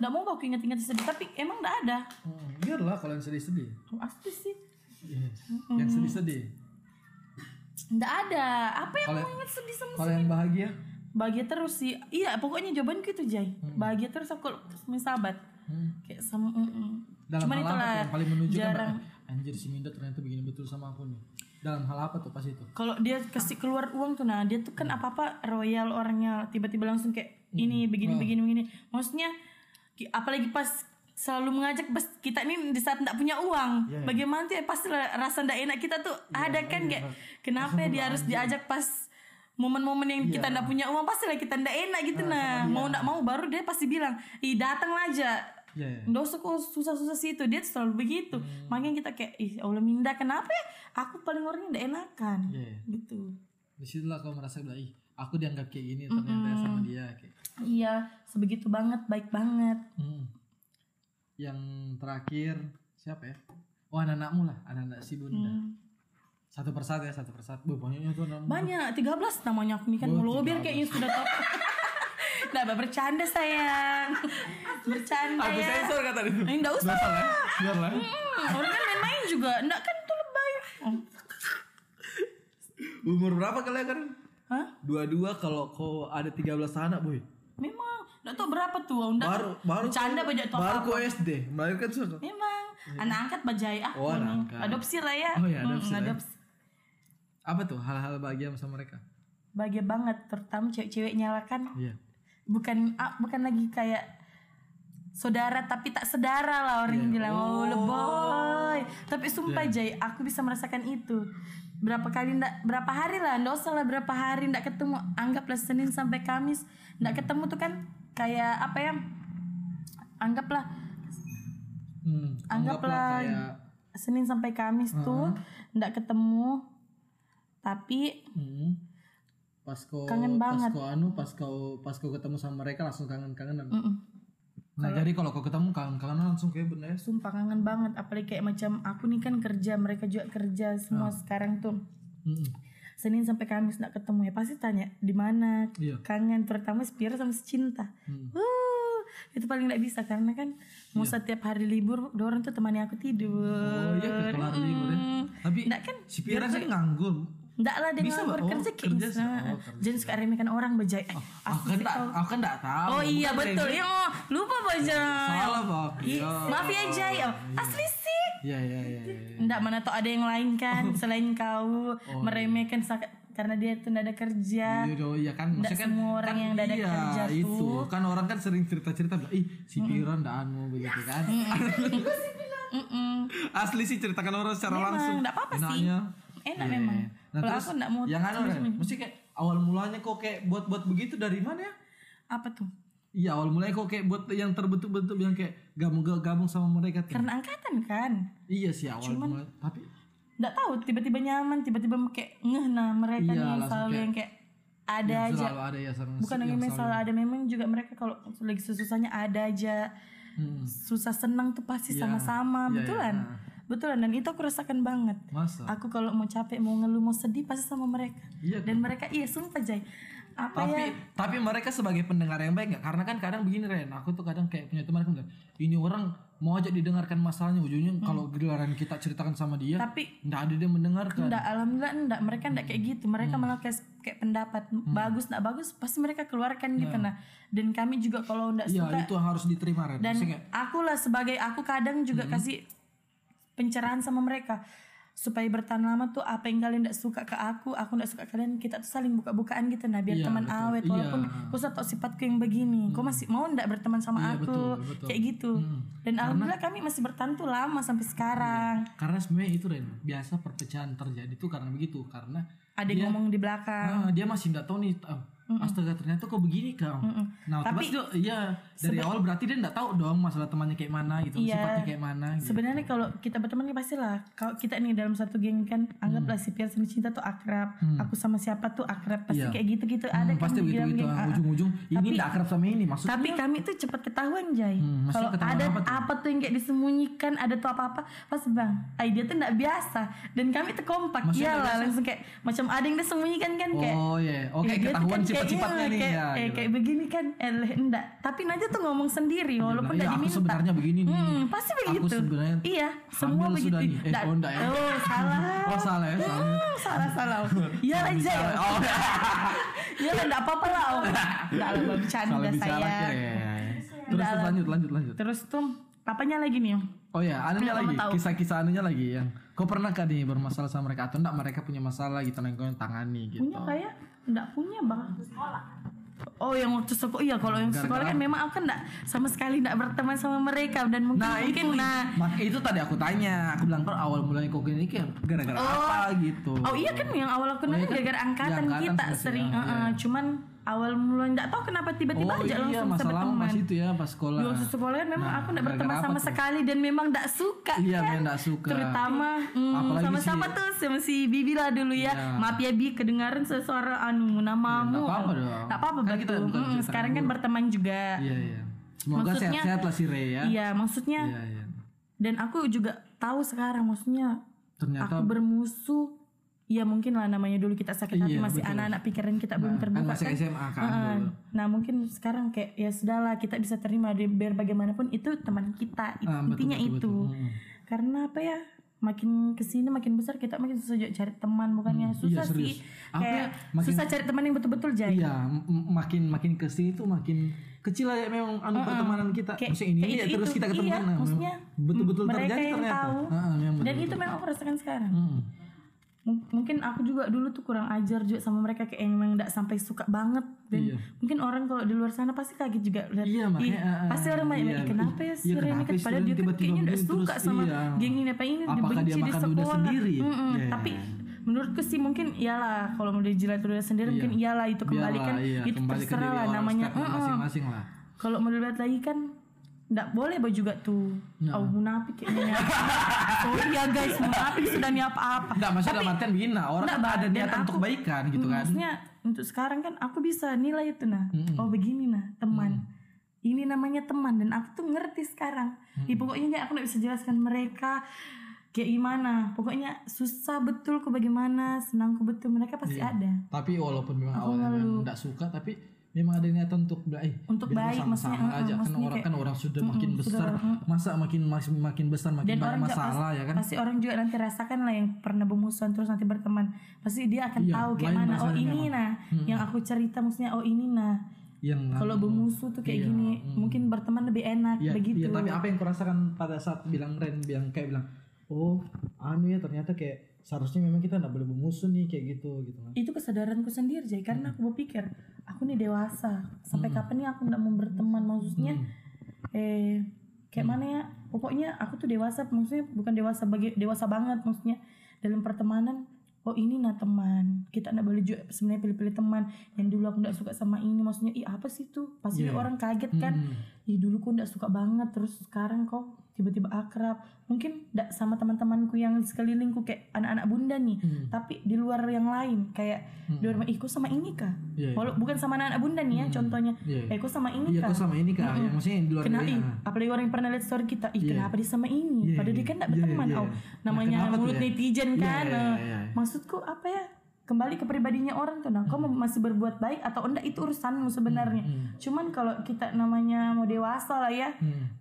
[SPEAKER 2] nggak mau bah aku ingat-ingat yang sedih tapi emang nggak ada
[SPEAKER 1] Hmm, biarlah kalau yang sedih-sedih.
[SPEAKER 2] Oh, Apa sih?
[SPEAKER 1] Iya. Yang sedih-sedih.
[SPEAKER 2] Nggak ada. Apa yang
[SPEAKER 1] Kalau-
[SPEAKER 2] mau ingat sedih sama
[SPEAKER 1] Kalau yang bahagia?
[SPEAKER 2] Bahagia terus sih. Iya, pokoknya jawaban gitu, Jai. Bahagia terus aku sama sahabat.
[SPEAKER 1] Hmm.
[SPEAKER 2] Kayak sama mm, mm.
[SPEAKER 1] Dalam
[SPEAKER 2] Cuman
[SPEAKER 1] hal apa
[SPEAKER 2] itulah
[SPEAKER 1] tuh yang paling menunjukkan
[SPEAKER 2] jarang.
[SPEAKER 1] "Ah, anjir si Minda ternyata begini betul sama aku nih. Dalam hal apa tuh pas itu?
[SPEAKER 2] Kalau dia kasih keluar uang tuh nah, dia tuh kan apa-apa royal orangnya tiba-tiba langsung kayak
[SPEAKER 1] Hmm.
[SPEAKER 2] ini begini begini begini. Maksudnya ki- apalagi pas selalu mengajak pas kita ini di saat ndak punya
[SPEAKER 1] Iya,
[SPEAKER 2] uang
[SPEAKER 1] iya.
[SPEAKER 2] bagaimana tuh ya pasti lah rasa ndak enak kita tuh ada kan kayak kenapa ya dia harus diajak pas momen-momen yang kita
[SPEAKER 1] Iya.
[SPEAKER 2] ndak punya uang pasti lah kita ndak enak
[SPEAKER 1] Ah,
[SPEAKER 2] gitu nah mau ndak mau baru dia pasti bilang ih datang aja
[SPEAKER 1] Iya. iya.
[SPEAKER 2] Nggak usah kok susah-susah sih itu Dia tuh selalu begitu
[SPEAKER 1] Hmm.
[SPEAKER 2] Makanya kita kayak Ih Allah minda kenapa ya Aku paling orangnya nggak enakan
[SPEAKER 1] Iya, iya.
[SPEAKER 2] Gitu
[SPEAKER 1] Disitulah kau merasa bilang, ih aku dianggap kayak gini ternyata ya sama dia kayak
[SPEAKER 2] Iya, sebegitu banget, baik banget.
[SPEAKER 1] hmm. yang terakhir siapa ya wah anak-anakmu lah anak-anak si bunda satu persatu ya satu persatu Wah, banyaknya tuh anak
[SPEAKER 2] Hmm. Banyak, 13 namanya aku nih kan
[SPEAKER 1] Oh,
[SPEAKER 2] mulu biar kayaknya sudah top. Nah, Mbak, bercanda sayang. Bercanda
[SPEAKER 1] aku
[SPEAKER 2] ya.
[SPEAKER 1] sensor kata dia
[SPEAKER 2] Ini enggak usah.
[SPEAKER 1] Salah, biar lah
[SPEAKER 2] Hmm, Orang kan main-main juga. Enggak kan tuh lebay. Oh.
[SPEAKER 1] umur berapa kalian kan
[SPEAKER 2] Hah?
[SPEAKER 1] dua-dua kalau kau ada 13 anak boy
[SPEAKER 2] Memang. Enggak tahu berapa tuh. Enggak
[SPEAKER 1] baru baru
[SPEAKER 2] bercanda banyak top
[SPEAKER 1] baru kan
[SPEAKER 2] up.
[SPEAKER 1] kau SD melahirkan sudah
[SPEAKER 2] Memang. Anak angkat bajai aku.
[SPEAKER 1] Oh, anak
[SPEAKER 2] nih.
[SPEAKER 1] angkat.
[SPEAKER 2] Adopsi lah ya.
[SPEAKER 1] Oh, iya,
[SPEAKER 2] Hmm,
[SPEAKER 1] adopsi lah ya.
[SPEAKER 2] adopsi.
[SPEAKER 1] apa tuh hal-hal bahagia sama mereka
[SPEAKER 2] Bahagia banget terutama cewek-ceweknya lah kan.
[SPEAKER 1] iya
[SPEAKER 2] bukan ah, bukan lagi kayak saudara tapi tak sedara lah orang yang bilang oh, leboy tapi sumpah Jay aku bisa merasakan itu berapa kali ndak berapa hari lah ndak usah lah berapa hari ndak ketemu anggaplah Senin sampai Kamis ndak ketemu tuh kan kayak apa ya anggaplah
[SPEAKER 1] hmm.
[SPEAKER 2] Anggaplah-
[SPEAKER 1] kayak
[SPEAKER 2] Senin sampai Kamis tuh ndak ketemu tapi
[SPEAKER 1] hmm. pas kau
[SPEAKER 2] Kangen banget.
[SPEAKER 1] pas kau anu pas kau pas kau ketemu sama mereka langsung kangen-kangenan
[SPEAKER 2] mm-mm.
[SPEAKER 1] nah jadi kalau kau ketemu kangen-kangenan langsung kayak bener
[SPEAKER 2] sumpah kangen banget apalagi kayak macam aku nih kan kerja mereka juga kerja semua sekarang tuh
[SPEAKER 1] hmm.
[SPEAKER 2] Senin sampai Kamis nggak ketemu ya pasti tanya di mana
[SPEAKER 1] iya
[SPEAKER 2] kangen terutama Spira sama Cinta.
[SPEAKER 1] Hmm.
[SPEAKER 2] Wuh, itu paling nggak bisa karena kan mau setiap hari libur dorong tuh temani aku
[SPEAKER 1] Iya. oh
[SPEAKER 2] tidur.
[SPEAKER 1] iya ke kelar libur ya. tapi
[SPEAKER 2] Nggak kan?
[SPEAKER 1] si Pira kan nganggur
[SPEAKER 2] Nggak lah dengan
[SPEAKER 1] Bisa, Mbak. Oh,
[SPEAKER 2] bekerja kayak
[SPEAKER 1] kerja sih.
[SPEAKER 2] bisa.
[SPEAKER 1] Oh,
[SPEAKER 2] Jangan suka remehkan orang bajai. Eh,
[SPEAKER 1] aku kan tak aku kan tak tahu
[SPEAKER 2] Oh iya
[SPEAKER 1] Bukan
[SPEAKER 2] betul
[SPEAKER 1] Remy.
[SPEAKER 2] ya oh, lupa bajai.
[SPEAKER 1] salah Iya. pak
[SPEAKER 2] Ih, Maaf ya Jai, oh, asli sih.
[SPEAKER 1] iya iya iya iya.
[SPEAKER 2] Nggak mana tau ada yang
[SPEAKER 1] Oh.
[SPEAKER 2] lain kan selain kau meremehkan sak- karena dia tuh nggak ada kerja.
[SPEAKER 1] Iya, dong, iya kan
[SPEAKER 2] Nggak
[SPEAKER 1] maksudnya kan
[SPEAKER 2] semua orang
[SPEAKER 1] kan
[SPEAKER 2] yang udah ada
[SPEAKER 1] iya,
[SPEAKER 2] kerja tuh.
[SPEAKER 1] itu kan orang kan sering cerita-cerita bilang, ih si Pira ndak anu begitu
[SPEAKER 2] Iya.
[SPEAKER 1] kan.
[SPEAKER 2] Mm-mm.
[SPEAKER 1] Asli sih ceritakan orang secara
[SPEAKER 2] Memang,
[SPEAKER 1] langsung.
[SPEAKER 2] nggak apa-apa sih.
[SPEAKER 1] Enaknya.
[SPEAKER 2] Enak
[SPEAKER 1] Iya.
[SPEAKER 2] memang.
[SPEAKER 1] Nah,
[SPEAKER 2] Kalau
[SPEAKER 1] terus
[SPEAKER 2] aku nggak mau
[SPEAKER 1] yang anu Ren, mesti kayak awal mulanya kok kayak buat-buat begitu dari mana ya?
[SPEAKER 2] Apa tuh?
[SPEAKER 1] Iya awal mulanya kok kayak buat yang terbentuk-bentuk yang kayak gabung-gabung sama mereka tuh.
[SPEAKER 2] Karena angkatan kan.
[SPEAKER 1] Iya sih awal mulanya. Tapi
[SPEAKER 2] Nggak tahu tiba-tiba nyaman, tiba-tiba kayak ngeh nah
[SPEAKER 1] Iya,
[SPEAKER 2] mereka nih yang
[SPEAKER 1] langsung
[SPEAKER 2] selalu
[SPEAKER 1] kayak-
[SPEAKER 2] yang kayak ada aja.
[SPEAKER 1] selalu ada ya sama
[SPEAKER 2] Bukan hanya masalah ada memang juga mereka kalau lagi susah-susahnya ada aja.
[SPEAKER 1] Hmm.
[SPEAKER 2] Susah senang tuh pasti
[SPEAKER 1] Iya,
[SPEAKER 2] sama-sama,
[SPEAKER 1] iya,
[SPEAKER 2] betulan.
[SPEAKER 1] nah.
[SPEAKER 2] Betulan dan itu aku rasakan banget.
[SPEAKER 1] Masa?
[SPEAKER 2] Aku kalau mau capek, mau ngeluh, mau sedih pasti sama mereka.
[SPEAKER 1] Iya,
[SPEAKER 2] Dan mereka iya sumpah Jay. Apa
[SPEAKER 1] tapi
[SPEAKER 2] ya?
[SPEAKER 1] tapi mereka sebagai pendengar yang baik nggak karena kan kadang begini Ren aku tuh kadang kayak punya teman aku bilang, ini orang mau aja didengarkan masalahnya ujungnya
[SPEAKER 2] Hmm.
[SPEAKER 1] kalau giliran kita ceritakan sama dia
[SPEAKER 2] Tapi
[SPEAKER 1] nggak ada dia mendengarkan
[SPEAKER 2] Enggak, alhamdulillah enggak. Mereka enggak kayak gitu. Mereka
[SPEAKER 1] Hmm.
[SPEAKER 2] malah kayak, kayak pendapat. Bagus, enggak bagus. Pasti mereka keluarkan gitu. Nah, dan kami juga kalau enggak
[SPEAKER 1] ya
[SPEAKER 2] suka.
[SPEAKER 1] itu yang harus diterima Ren
[SPEAKER 2] Dan
[SPEAKER 1] Maksudnya kayak,
[SPEAKER 2] aku lah sebagai aku kadang juga
[SPEAKER 1] Hmm.
[SPEAKER 2] kasih pencerahan sama mereka. Supaya bertahan lama tuh apa yang kalian enggak suka ke aku. Aku enggak suka kalian. Kita tuh saling buka-bukaan gitu. Nah, biar
[SPEAKER 1] Iya,
[SPEAKER 2] teman
[SPEAKER 1] betul.
[SPEAKER 2] awet.
[SPEAKER 1] Iya. Hmm.
[SPEAKER 2] Walaupun kau tahu sifatku yang begini. Kau masih mau enggak berteman sama
[SPEAKER 1] Iya,
[SPEAKER 2] aku.
[SPEAKER 1] betul, betul. Hmm.
[SPEAKER 2] Kayak gitu. Dan alhamdulillah kami masih bertahan tuh lama sampai sekarang.
[SPEAKER 1] Iya. karena sebenarnya itu Ren biasa perpecahan terjadi tuh karena begitu karena Iya.
[SPEAKER 2] Ada yang ngomong di belakang.
[SPEAKER 1] ah, dia masih nggak tahu nih ah, Astaga ternyata kok begini kau. Nah,
[SPEAKER 2] Tapi-
[SPEAKER 1] terus dia- iya dari awal berarti dia nggak tahu dong masalah temannya kayak mana gitu,
[SPEAKER 2] Iya.
[SPEAKER 1] sifatnya kayak mana. Gitu.
[SPEAKER 2] Sebenarnya kalau kita berteman nih pastilah kalau kita nih dalam satu geng kan anggaplah
[SPEAKER 1] Hmm.
[SPEAKER 2] si Pierre sama Cinta tuh akrab, aku sama siapa tuh akrab, pasti
[SPEAKER 1] Iya.
[SPEAKER 2] kayak gitu-gitu ada
[SPEAKER 1] Hmm,
[SPEAKER 2] kan
[SPEAKER 1] pasti
[SPEAKER 2] di
[SPEAKER 1] begitu
[SPEAKER 2] dalam
[SPEAKER 1] gitu
[SPEAKER 2] geng. Ah, ah.
[SPEAKER 1] ujung-ujung ini
[SPEAKER 2] Tapi-
[SPEAKER 1] nggak akrab sama ini maksud
[SPEAKER 2] Tapi kami tuh cepat ketahuan Jai.
[SPEAKER 1] Hmm, maksudnya
[SPEAKER 2] kalau
[SPEAKER 1] ketahuan
[SPEAKER 2] ada
[SPEAKER 1] apa
[SPEAKER 2] apa
[SPEAKER 1] tuh?
[SPEAKER 2] tuh? yang kayak disembunyikan, ada tuh apa-apa, pas bang, ah dia tuh nggak biasa dan kami tuh kompak,
[SPEAKER 1] Maksudnya nggak
[SPEAKER 2] iyalah langsung kayak macam ada yang disembunyikan kan kayak
[SPEAKER 1] Oh iya, oke
[SPEAKER 2] Ya, dia tuh
[SPEAKER 1] ketahuan
[SPEAKER 2] kan kayak
[SPEAKER 1] cepat-cepatnya
[SPEAKER 2] iya,
[SPEAKER 1] nih
[SPEAKER 2] kayak,
[SPEAKER 1] ya.
[SPEAKER 2] eh,
[SPEAKER 1] gitu.
[SPEAKER 2] kayak begini kan eh leh, enggak tapi Najwa tuh ngomong sendiri
[SPEAKER 1] iya,
[SPEAKER 2] walaupun enggak
[SPEAKER 1] aku
[SPEAKER 2] diminta
[SPEAKER 1] sebenarnya begini nih.
[SPEAKER 2] Hmm, pasti
[SPEAKER 1] Aku
[SPEAKER 2] begitu
[SPEAKER 1] sebenarnya
[SPEAKER 2] iya semua
[SPEAKER 1] hamil
[SPEAKER 2] begitu
[SPEAKER 1] sudah nih. Eh,
[SPEAKER 2] Nggak-
[SPEAKER 1] oh, enggak ya.
[SPEAKER 2] oh salah
[SPEAKER 1] Oh, salah ya, salah.
[SPEAKER 2] Hmm, salah salah iya lah Jay
[SPEAKER 1] Oh,
[SPEAKER 2] iya lah enggak apa-apa lah oh. enggak lah Mbak, bercanda Iya.
[SPEAKER 1] salah bicara ya.
[SPEAKER 2] saya
[SPEAKER 1] kayak. Terus terus, lanjut lanjut lanjut.
[SPEAKER 2] terus tuh apanya lagi nih Om?
[SPEAKER 1] Oh ya, anunya
[SPEAKER 2] Yang kamu
[SPEAKER 1] lagi,
[SPEAKER 2] tahu.
[SPEAKER 1] kisah-kisah anunya lagi yang kau pernah kan nih bermasalah sama mereka atau enggak mereka punya masalah gitu yang kau yang tangani gitu.
[SPEAKER 2] punya kayak enggak punya bang Oh yang waktu sekolah iya kalau yang sekolah kan memang aku kan enggak sama sekali enggak berteman sama mereka dan mungkin
[SPEAKER 1] Nah,
[SPEAKER 2] mungkin
[SPEAKER 1] itu
[SPEAKER 2] nah
[SPEAKER 1] Maka itu tadi aku tanya, aku bilang kau awal mulanya kok gini kayak gara-gara apa gitu.
[SPEAKER 2] Oh iya kan yang awal aku kenal
[SPEAKER 1] iya kan?
[SPEAKER 2] gara-gara angkatan
[SPEAKER 1] Iya, angkatan
[SPEAKER 2] kita
[SPEAKER 1] sama si
[SPEAKER 2] sering
[SPEAKER 1] Ang,
[SPEAKER 2] eh, eh,
[SPEAKER 1] iya.
[SPEAKER 2] cuman awal mulanya nggak tahu kenapa tiba-tiba
[SPEAKER 1] oh
[SPEAKER 2] aja
[SPEAKER 1] iya
[SPEAKER 2] langsung sama
[SPEAKER 1] masalah
[SPEAKER 2] teman.
[SPEAKER 1] pas itu ya pas sekolah.
[SPEAKER 2] Di waktu sekolah kan memang aku nggak berteman
[SPEAKER 1] nah, gara-gara
[SPEAKER 2] sama
[SPEAKER 1] apa tuh?
[SPEAKER 2] sekali dan memang nggak suka.
[SPEAKER 1] Iya,
[SPEAKER 2] kan?
[SPEAKER 1] memang nggak suka.
[SPEAKER 2] Terutama mm,
[SPEAKER 1] Apalagi
[SPEAKER 2] sama
[SPEAKER 1] si-
[SPEAKER 2] siapa tuh sama si Bibi lah dulu ya. Maaf ya Bi, kedengaran sesuara anu
[SPEAKER 1] Iya,
[SPEAKER 2] namamu.
[SPEAKER 1] nggak apa-apa dong.
[SPEAKER 2] Nggak apa-apa,
[SPEAKER 1] Kan
[SPEAKER 2] betul.
[SPEAKER 1] kita bukan
[SPEAKER 2] Mm,
[SPEAKER 1] cerita
[SPEAKER 2] sekarang kan berteman juga.
[SPEAKER 1] Iya iya. Semoga
[SPEAKER 2] Maksudnya-
[SPEAKER 1] sehat-sehat lah si Rey ya.
[SPEAKER 2] Iya, maksudnya
[SPEAKER 1] Iya iya.
[SPEAKER 2] dan aku juga tahu sekarang maksudnya
[SPEAKER 1] Ternyata
[SPEAKER 2] aku bermusuh ya mungkin lah namanya dulu kita sakit hati
[SPEAKER 1] Iya,
[SPEAKER 2] masih
[SPEAKER 1] betul.
[SPEAKER 2] anak-anak pikiran kita belum
[SPEAKER 1] kan
[SPEAKER 2] terbuka
[SPEAKER 1] masih
[SPEAKER 2] kan.
[SPEAKER 1] SMA kan
[SPEAKER 2] Heeh.
[SPEAKER 1] dulu.
[SPEAKER 2] Nah mungkin sekarang kayak ya sudahlah kita bisa terima di- biar bagaimanapun itu teman kita It-
[SPEAKER 1] Ah, betul,
[SPEAKER 2] intinya
[SPEAKER 1] betul,
[SPEAKER 2] itu
[SPEAKER 1] betul. Mm.
[SPEAKER 2] karena apa ya makin kesini makin besar kita makin susah juga cari teman bukannya susah
[SPEAKER 1] Hmm, serius.
[SPEAKER 2] sih
[SPEAKER 1] Apa
[SPEAKER 2] kayak
[SPEAKER 1] ya, makin-
[SPEAKER 2] susah cari teman yang betul-betul jadi
[SPEAKER 1] Iya, m- m- makin makin kesini tuh makin kecil aja memang anu pertemanan kita.
[SPEAKER 2] Kayak-
[SPEAKER 1] Maksudnya ini
[SPEAKER 2] kayak
[SPEAKER 1] aja
[SPEAKER 2] itu-
[SPEAKER 1] terus kita
[SPEAKER 2] itu,
[SPEAKER 1] ketemu
[SPEAKER 2] iya,
[SPEAKER 1] nah, memang
[SPEAKER 2] maksudnya
[SPEAKER 1] betul-betul
[SPEAKER 2] mereka
[SPEAKER 1] terjadi
[SPEAKER 2] yang
[SPEAKER 1] ternyata.
[SPEAKER 2] tahu.
[SPEAKER 1] Heeh, memang
[SPEAKER 2] dan
[SPEAKER 1] betul-betul.
[SPEAKER 2] itu memang aku rasakan sekarang
[SPEAKER 1] Mm.
[SPEAKER 2] M- mungkin aku juga dulu tuh kurang ajar juga sama mereka kayak yang memang nggak sampai suka banget dan
[SPEAKER 1] Iya.
[SPEAKER 2] mungkin orang kalau di luar sana pasti kaget juga lihat
[SPEAKER 1] Iya,
[SPEAKER 2] "Ih,
[SPEAKER 1] makanya, ah,
[SPEAKER 2] pasti orang banyak
[SPEAKER 1] iya.
[SPEAKER 2] "Ih, kenapa ya
[SPEAKER 1] Iya,
[SPEAKER 2] si Reni
[SPEAKER 1] kenapa
[SPEAKER 2] kan
[SPEAKER 1] sih
[SPEAKER 2] padahal
[SPEAKER 1] Reni
[SPEAKER 2] dia kan
[SPEAKER 1] tiba-tiba
[SPEAKER 2] kayaknya udah
[SPEAKER 1] begini
[SPEAKER 2] suka
[SPEAKER 1] terus?"
[SPEAKER 2] sama
[SPEAKER 1] Iya.
[SPEAKER 2] geng ini apa ini
[SPEAKER 1] Apakah
[SPEAKER 2] dibenci
[SPEAKER 1] dia
[SPEAKER 2] di
[SPEAKER 1] makan
[SPEAKER 2] sekolah
[SPEAKER 1] ludah sendiri?
[SPEAKER 2] Mm-mm.
[SPEAKER 1] Iya.
[SPEAKER 2] tapi menurutku sih mungkin iyalah kalau mau dijilat udah sendiri mungkin iyalah itu kembali
[SPEAKER 1] Biarlah,
[SPEAKER 2] kan
[SPEAKER 1] iya,
[SPEAKER 2] itu
[SPEAKER 1] kembali ke diri
[SPEAKER 2] terserah lah
[SPEAKER 1] orang,
[SPEAKER 2] namanya
[SPEAKER 1] statement
[SPEAKER 2] Mm-mm.
[SPEAKER 1] masing-masing lah.
[SPEAKER 2] kalau mau dilihat lagi kan nggak boleh bah juga tuh
[SPEAKER 1] Nah.
[SPEAKER 2] oh munafik kayaknya sorry ya guys munafik sudah mi apa-apa
[SPEAKER 1] Enggak, maksudnya dalam artian begini nah, orang
[SPEAKER 2] Ah, Nggak,
[SPEAKER 1] kan ada
[SPEAKER 2] dan
[SPEAKER 1] niatan untuk
[SPEAKER 2] aku- Hmm.
[SPEAKER 1] kebaikan gitu kan.
[SPEAKER 2] Maksudnya untuk sekarang kan aku bisa nilai itu nah. Oh begini nah teman. Ini namanya teman dan aku tuh ngerti sekarang. Ya, pokoknya ya, aku nggak bisa jelaskan mereka kayak gimana. Pokoknya susah betul ku bagaimana, senangku betul mereka pasti
[SPEAKER 1] Iya.
[SPEAKER 2] ada.
[SPEAKER 1] Tapi walaupun memang awalnya memang enggak suka tapi memang ada niatan untuk ba- eh,
[SPEAKER 2] Untuk
[SPEAKER 1] biar
[SPEAKER 2] baik,
[SPEAKER 1] sama-sama
[SPEAKER 2] maksudnya,
[SPEAKER 1] aja
[SPEAKER 2] mm,
[SPEAKER 1] kan
[SPEAKER 2] maksudnya
[SPEAKER 1] orang
[SPEAKER 2] kayak-
[SPEAKER 1] kan orang sudah makin besar masa makin makin, makin besar makin
[SPEAKER 2] Dan
[SPEAKER 1] banyak
[SPEAKER 2] orang juga
[SPEAKER 1] masalah
[SPEAKER 2] pasti,
[SPEAKER 1] ya kan
[SPEAKER 2] pasti orang juga nanti rasakan lah yang pernah bermusuhan terus nanti berteman. Pasti dia akan
[SPEAKER 1] Iya,
[SPEAKER 2] tahu kayak
[SPEAKER 1] lain
[SPEAKER 2] mana. Oh
[SPEAKER 1] rasanya
[SPEAKER 2] ini nah yang aku cerita maksudnya oh ini nah.
[SPEAKER 1] yang
[SPEAKER 2] Kalau bermusuh tuh kayak gini, mungkin berteman lebih enak
[SPEAKER 1] Iya, iya,
[SPEAKER 2] begitu.
[SPEAKER 1] tapi apa yang kau rasakan pada saat bilang Ren bilang kayak bilang, "Oh, anu ya ternyata kayak seharusnya memang kita nggak boleh bermusuh nih kayak gitu gitu kan."
[SPEAKER 2] itu kesadaranku sendiri Jay karena aku berpikir aku nih dewasa sampai kapan nih aku nggak mau berteman maksudnya eh kayak mana ya pokoknya aku tuh dewasa maksudnya bukan dewasa bagi dewasa banget maksudnya dalam pertemanan oh ini nah teman kita nggak boleh juga sebenarnya pilih-pilih teman yang dulu aku nggak suka sama ini maksudnya ih apa sih tuh pasti orang kaget kan ih dulu aku nggak suka banget terus sekarang kok tiba-tiba akrab mungkin nggak sama teman-temanku yang sekelilingku kayak anak-anak bunda nih tapi di luar yang lain kayak di luar ih kok sama ini kah
[SPEAKER 1] Iya, iya.
[SPEAKER 2] walau bukan sama anak-anak bunda nih ya contohnya
[SPEAKER 1] Iya, iya.
[SPEAKER 2] eh kok sama ini
[SPEAKER 1] Iya,
[SPEAKER 2] kah
[SPEAKER 1] kok sama ini kak, ya, maksudnya yang di luar
[SPEAKER 2] Kena,
[SPEAKER 1] dari-
[SPEAKER 2] ih, apalagi orang yang pernah lihat story kita ih kenapa dia sama ini
[SPEAKER 1] Iya,
[SPEAKER 2] padahal dia
[SPEAKER 1] iya.
[SPEAKER 2] kan gak
[SPEAKER 1] Iya,
[SPEAKER 2] berteman
[SPEAKER 1] iya, iya.
[SPEAKER 2] oh
[SPEAKER 1] Nah,
[SPEAKER 2] namanya
[SPEAKER 1] kenapa tuh
[SPEAKER 2] mulut
[SPEAKER 1] ya?
[SPEAKER 2] netizen
[SPEAKER 1] Iya,
[SPEAKER 2] kan
[SPEAKER 1] iya,
[SPEAKER 2] eh.
[SPEAKER 1] iya, iya.
[SPEAKER 2] maksudku apa ya kembali ke pribadinya orang tuh nah kau
[SPEAKER 1] Hmm.
[SPEAKER 2] mau- masih berbuat baik atau enggak itu urusanmu sebenarnya cuman kalau kita namanya mau dewasa lah ya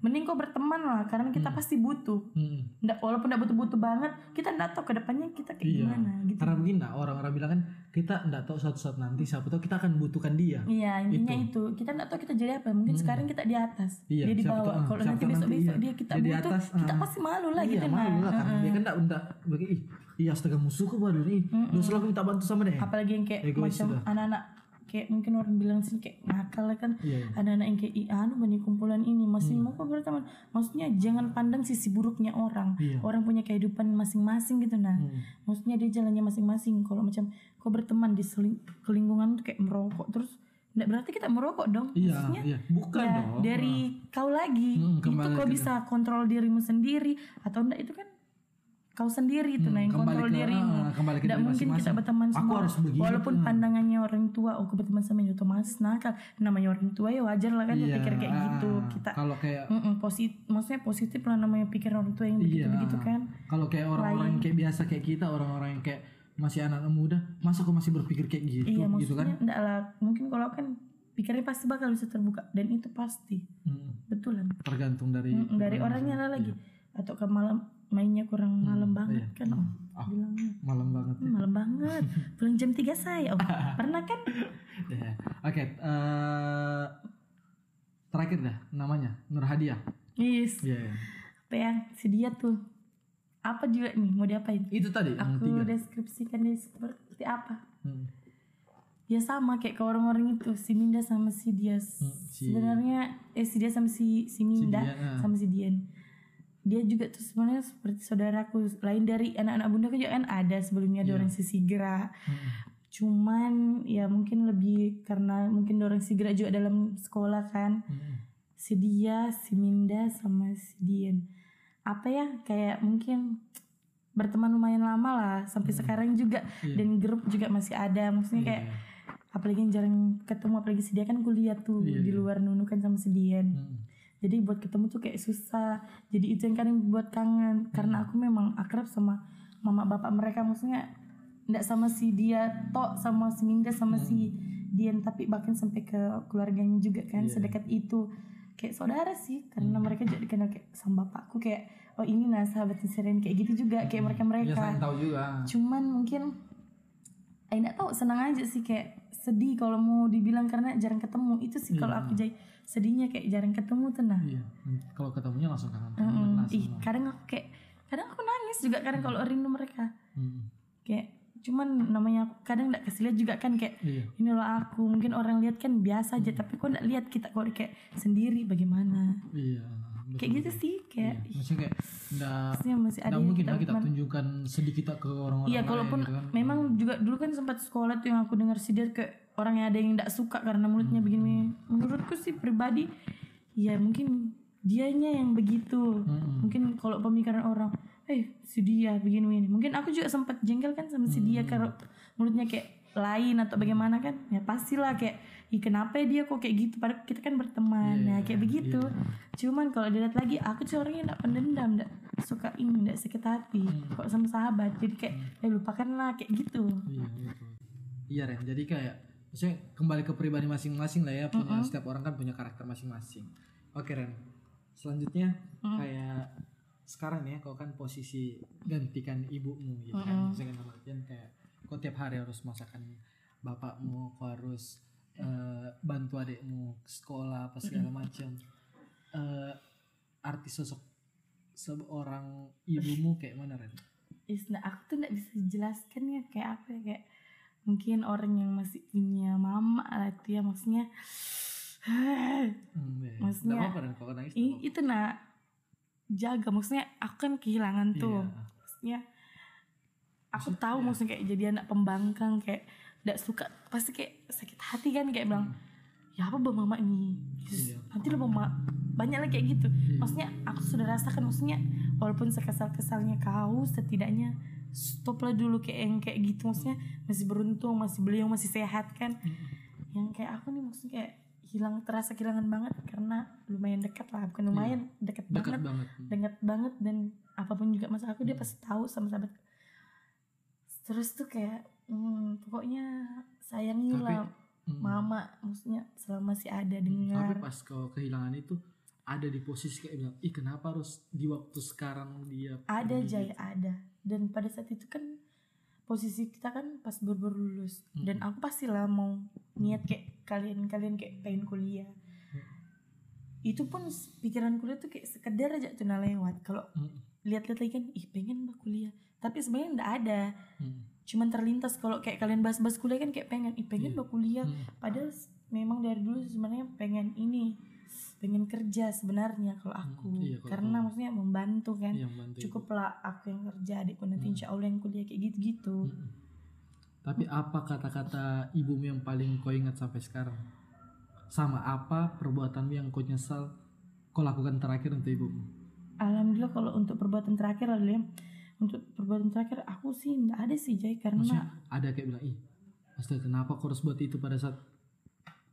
[SPEAKER 2] mending kau berteman lah karena kita pasti butuh
[SPEAKER 1] Hmm.
[SPEAKER 2] Nggak, walaupun nggak butuh-butuh banget kita nggak tahu kedepannya kita kayak
[SPEAKER 1] Iya.
[SPEAKER 2] gimana gitu
[SPEAKER 1] Karena begini nah, orang-orang bilang kan kita nggak tahu suatu saat nanti siapa tahu kita akan butuhkan dia.
[SPEAKER 2] Iya intinya itu. Kita nggak tahu kita jadi apa. Mungkin sekarang kita di atas,
[SPEAKER 1] Hmm. Iya,
[SPEAKER 2] dia di
[SPEAKER 1] siapa tahu,
[SPEAKER 2] bawah.
[SPEAKER 1] ah,
[SPEAKER 2] Kalau
[SPEAKER 1] siapa
[SPEAKER 2] nanti
[SPEAKER 1] tahu nanti,
[SPEAKER 2] besok besok
[SPEAKER 1] iya.
[SPEAKER 2] dia kita
[SPEAKER 1] Dia di
[SPEAKER 2] butuh,
[SPEAKER 1] atas,
[SPEAKER 2] kita
[SPEAKER 1] ah.
[SPEAKER 2] pasti malu lah
[SPEAKER 1] iya,
[SPEAKER 2] gitu
[SPEAKER 1] malu
[SPEAKER 2] nah.
[SPEAKER 1] lah karena dia kan nggak nggak bagi ih, iya astaga musuhku baru nih. Lu selalu minta bantu sama deh.
[SPEAKER 2] Apalagi yang kayak
[SPEAKER 1] Egois
[SPEAKER 2] macam
[SPEAKER 1] sudah.
[SPEAKER 2] anak-anak kayak mungkin orang bilang sih kayak nakal lah kan
[SPEAKER 1] Iya, iya.
[SPEAKER 2] anak-anak yang kayak "Ih, anu banyak kumpulan ini masih mau kok berteman maksudnya jangan pandang sisi buruknya orang
[SPEAKER 1] Iya. Hmm.
[SPEAKER 2] orang punya kehidupan masing-masing gitu nah maksudnya dia jalannya masing-masing kalau macam kok berteman di seling- kelingkungan tuh kayak merokok terus nggak berarti kita merokok dong
[SPEAKER 1] Iya,
[SPEAKER 2] maksudnya
[SPEAKER 1] iya. Bukan
[SPEAKER 2] ya,
[SPEAKER 1] dong.
[SPEAKER 2] dari kau lagi
[SPEAKER 1] Mm,
[SPEAKER 2] itu
[SPEAKER 1] kembali
[SPEAKER 2] kau
[SPEAKER 1] ke-
[SPEAKER 2] bisa kontrol dirimu sendiri atau enggak itu kan kau sendiri itu nah yang
[SPEAKER 1] Hmm, kembali
[SPEAKER 2] kontrol
[SPEAKER 1] ke-
[SPEAKER 2] dirimu
[SPEAKER 1] ah, kembali ke
[SPEAKER 2] Nggak
[SPEAKER 1] diri
[SPEAKER 2] mungkin kita
[SPEAKER 1] masing-masing.
[SPEAKER 2] berteman
[SPEAKER 1] Aku
[SPEAKER 2] semua
[SPEAKER 1] harus begini,
[SPEAKER 2] walaupun
[SPEAKER 1] ah.
[SPEAKER 2] pandangannya orang tua oh kau berteman sama yang otomatis nakal namanya orang tua ya wajar lah kan
[SPEAKER 1] Iya,
[SPEAKER 2] berpikir kayak
[SPEAKER 1] ah,
[SPEAKER 2] gitu kita
[SPEAKER 1] Kalau kayak
[SPEAKER 2] positif maksudnya positif lah namanya pikir orang tua yang begitu
[SPEAKER 1] Iya.
[SPEAKER 2] begitu kan
[SPEAKER 1] Kalau kayak orang-orang yang kayak biasa kayak kita, orang-orang yang kayak masih anak muda, masa kok masih berpikir kayak gitu
[SPEAKER 2] iya
[SPEAKER 1] gitu
[SPEAKER 2] maksudnya
[SPEAKER 1] kan?
[SPEAKER 2] enggak lah mungkin kalau kan pikirnya pasti bakal bisa terbuka dan itu pasti
[SPEAKER 1] Mm,
[SPEAKER 2] betulan
[SPEAKER 1] tergantung dari Iya.
[SPEAKER 2] Mm, dari orangnya lah lagi atau ke malam mainnya kurang
[SPEAKER 1] Hmm,
[SPEAKER 2] malam banget kan om
[SPEAKER 1] Ah.
[SPEAKER 2] bilangnya
[SPEAKER 1] malam banget.
[SPEAKER 2] "Hmm, malam banget pulang jam 3 saya om pernah kan
[SPEAKER 1] Ya. Oke, eh, terakhir dah namanya Nur Hadiah.
[SPEAKER 2] yes
[SPEAKER 1] Iya. iya.
[SPEAKER 2] apa yang si dia tuh apa juga nih mau diapain
[SPEAKER 1] Itu tadi yang
[SPEAKER 2] aku
[SPEAKER 1] tiga.
[SPEAKER 2] deskripsikan dia seperti apa
[SPEAKER 1] Mm,
[SPEAKER 2] ya sama kayak ke orang-orang itu si Minda sama si dia
[SPEAKER 1] Hmm, si-
[SPEAKER 2] sebenarnya eh si dia sama si si Minda
[SPEAKER 1] Dian, ah.
[SPEAKER 2] sama si Dian dia juga tuh sebenarnya
[SPEAKER 1] Iya.
[SPEAKER 2] seperti saudaraku lain dari anak-anak bunda kan juga kan ada sebelumnya ada orang si Sigra
[SPEAKER 1] mm,
[SPEAKER 2] cuman ya mungkin lebih karena mungkin dorong si Gra juga dalam sekolah kan
[SPEAKER 1] hmm,
[SPEAKER 2] si dia si Minda sama si Dian apa ya kayak mungkin berteman lumayan lama lah sampai sekarang juga
[SPEAKER 1] Iya.
[SPEAKER 2] dan grup juga masih ada maksudnya kayak
[SPEAKER 1] Hmm.
[SPEAKER 2] apalagi yang jarang ketemu apalagi si dia kan kuliah tuh di luar Nunu kan sama si Dian
[SPEAKER 1] Hmm.
[SPEAKER 2] jadi buat ketemu tuh kayak susah jadi itu yang kadang buat kangen karena aku memang akrab sama mama bapak mereka maksudnya ndak sama si dia tok sama si Minda sama si Dian tapi bahkan sampai ke keluarganya juga kan sedekat itu kayak saudara sih karena mereka juga dikenal kayak sama bapakku kayak oh ini nah sahabat Seren kayak gitu juga kayak mereka mereka
[SPEAKER 1] Ya saling tahu juga.
[SPEAKER 2] cuman mungkin eh nggak tahu senang aja sih kayak sedih kalau mau dibilang karena jarang ketemu itu sih kalau aku jadi sedihnya kayak jarang ketemu tuh nah
[SPEAKER 1] Iya. Kalau ketemunya langsung kangen.
[SPEAKER 2] Mm-mm.
[SPEAKER 1] Langsung.
[SPEAKER 2] ih kan. kadang aku kayak kadang aku nangis juga kadang kalau rindu mereka
[SPEAKER 1] Mm.
[SPEAKER 2] kayak cuman namanya aku kadang nggak kasih lihat juga kan kayak
[SPEAKER 1] Iya.
[SPEAKER 2] inilah aku mungkin orang lihat kan biasa aja tapi kok nggak lihat kita kok kayak sendiri bagaimana
[SPEAKER 1] Iya. betul.
[SPEAKER 2] kayak gitu sih
[SPEAKER 1] Iya.
[SPEAKER 2] kayak ih,
[SPEAKER 1] Maksudnya kayak nggak
[SPEAKER 2] harusnya masih ada
[SPEAKER 1] nggak
[SPEAKER 2] yang
[SPEAKER 1] mungkin
[SPEAKER 2] kita
[SPEAKER 1] lah kita
[SPEAKER 2] teman.
[SPEAKER 1] tunjukkan sedih kita ke orang-orang
[SPEAKER 2] Iya,
[SPEAKER 1] lain
[SPEAKER 2] kalaupun
[SPEAKER 1] gitu kan.
[SPEAKER 2] memang juga dulu kan sempat sekolah tuh yang aku dengar sih dia kayak orang yang ada yang tidak suka karena
[SPEAKER 1] Hmm.
[SPEAKER 2] mulutnya begini. Menurutku sih pribadi, ya mungkin dianya yang begitu. Mungkin kalau pemikiran orang, eh si dia begini ini. Mungkin aku juga sempat jengkel kan sama si dia kalau mulutnya kayak lain atau bagaimana kan? Ya pastilah kayak, ih kenapa dia kok kayak gitu? Padahal kita kan berteman, nah kayak begitu. Cuman kalau dilihat lagi, aku tuh orangnya tidak pendendam, tidak suka ini, tidak sakit hati. Kok sama sahabat, jadi kayak, eh lupakanlah kayak gitu.
[SPEAKER 1] Iya, betul. Iya, Ren. Jadi kayak maksudnya kembali ke pribadi masing-masing lah ya. Punya setiap orang kan punya karakter masing-masing. Oke, Ren. Selanjutnya kayak sekarang ya kau kan posisi gantikan ibumu gitu kan. Maksudnya dalam artian kayak kau tiap hari harus masakan bapakmu, kau harus eh, bantu adikmu ke sekolah apa segala macam. Eh, arti sosok seorang ibumu kayak mana Ren?
[SPEAKER 2] Is, nah, aku tuh tidak bisa jelaskan ya kayak apa ya, kayak mungkin orang yang masih punya mama lah itu ya maksudnya. eh,
[SPEAKER 1] Hmm, ya.
[SPEAKER 2] Maksudnya-
[SPEAKER 1] Nggak apa-apa Ren kalau nangis. nggak
[SPEAKER 2] Ini itu nak jaga maksudnya aku kan kehilangan tuh.
[SPEAKER 1] Iya.
[SPEAKER 2] Maksudnya aku tahu maksudnya kayak jadi anak pembangkang kayak tidak suka pasti kayak sakit hati kan kayak bilang ya apa bawa mama ini
[SPEAKER 1] Hmm.
[SPEAKER 2] Yesus,
[SPEAKER 1] Iya.
[SPEAKER 2] nanti lo bawa ma- banyak lagi kayak gitu
[SPEAKER 1] Hmm.
[SPEAKER 2] maksudnya aku sudah rasakan maksudnya walaupun sekesal kesalnya kau setidaknya stoplah dulu kayak yang kayak gitu maksudnya masih beruntung masih beliau masih sehat kan yang kayak aku nih maksudnya kayak hilang terasa kehilangan banget karena lumayan dekat lah bukan lumayan dekat
[SPEAKER 1] dekat
[SPEAKER 2] banget
[SPEAKER 1] banget.
[SPEAKER 2] dekat banget dan apapun juga masa aku dia pasti tahu sama sahabat terus tuh kayak hmm, pokoknya
[SPEAKER 1] Tapi,
[SPEAKER 2] sayangilah
[SPEAKER 1] mm,
[SPEAKER 2] mama maksudnya selama masih ada
[SPEAKER 1] tapi
[SPEAKER 2] dengar
[SPEAKER 1] pas kau kehilangan itu ada di posisi kayak bilang, ih kenapa harus di waktu sekarang dia
[SPEAKER 2] ada ya.
[SPEAKER 1] pergi?"
[SPEAKER 2] jaya ada dan pada saat itu kan posisi kita kan pas baru lulus dan
[SPEAKER 1] Hmm.
[SPEAKER 2] aku pastilah mau niat kayak kalian kalian kayak pengen kuliah
[SPEAKER 1] Hmm.
[SPEAKER 2] itu pun s- pikiran kuliah tuh kayak sekedar aja tuh nah lewat kalau
[SPEAKER 1] Mm,
[SPEAKER 2] lihat-lihat lagi kan ih pengen mbak kuliah tapi sebenarnya ndak ada
[SPEAKER 1] mm,
[SPEAKER 2] cuman terlintas kalau kayak kalian bahas-bahas kuliah kan kayak pengen ih pengen mbak kuliah
[SPEAKER 1] mm.
[SPEAKER 2] padahal s- memang dari dulu sebenarnya pengen ini pengen kerja sebenarnya kalau aku
[SPEAKER 1] iya, kalau
[SPEAKER 2] karena
[SPEAKER 1] kamu.
[SPEAKER 2] maksudnya membantu kan
[SPEAKER 1] Yang bantu itu.
[SPEAKER 2] cukuplah aku yang kerja adikku nanti insya Allah yang kuliah kayak gitu-gitu
[SPEAKER 1] Mm. Tapi apa kata-kata ibumu yang paling kau ingat sampai sekarang? Sama apa perbuatanmu yang kau nyesal kau lakukan terakhir untuk ibumu?
[SPEAKER 2] Alhamdulillah kalau untuk perbuatan terakhir lalu ya untuk perbuatan terakhir aku sih nggak ada sih Jai karena
[SPEAKER 1] Maksudnya ada kayak bilang, ih Astaga kenapa kau harus buat itu pada saat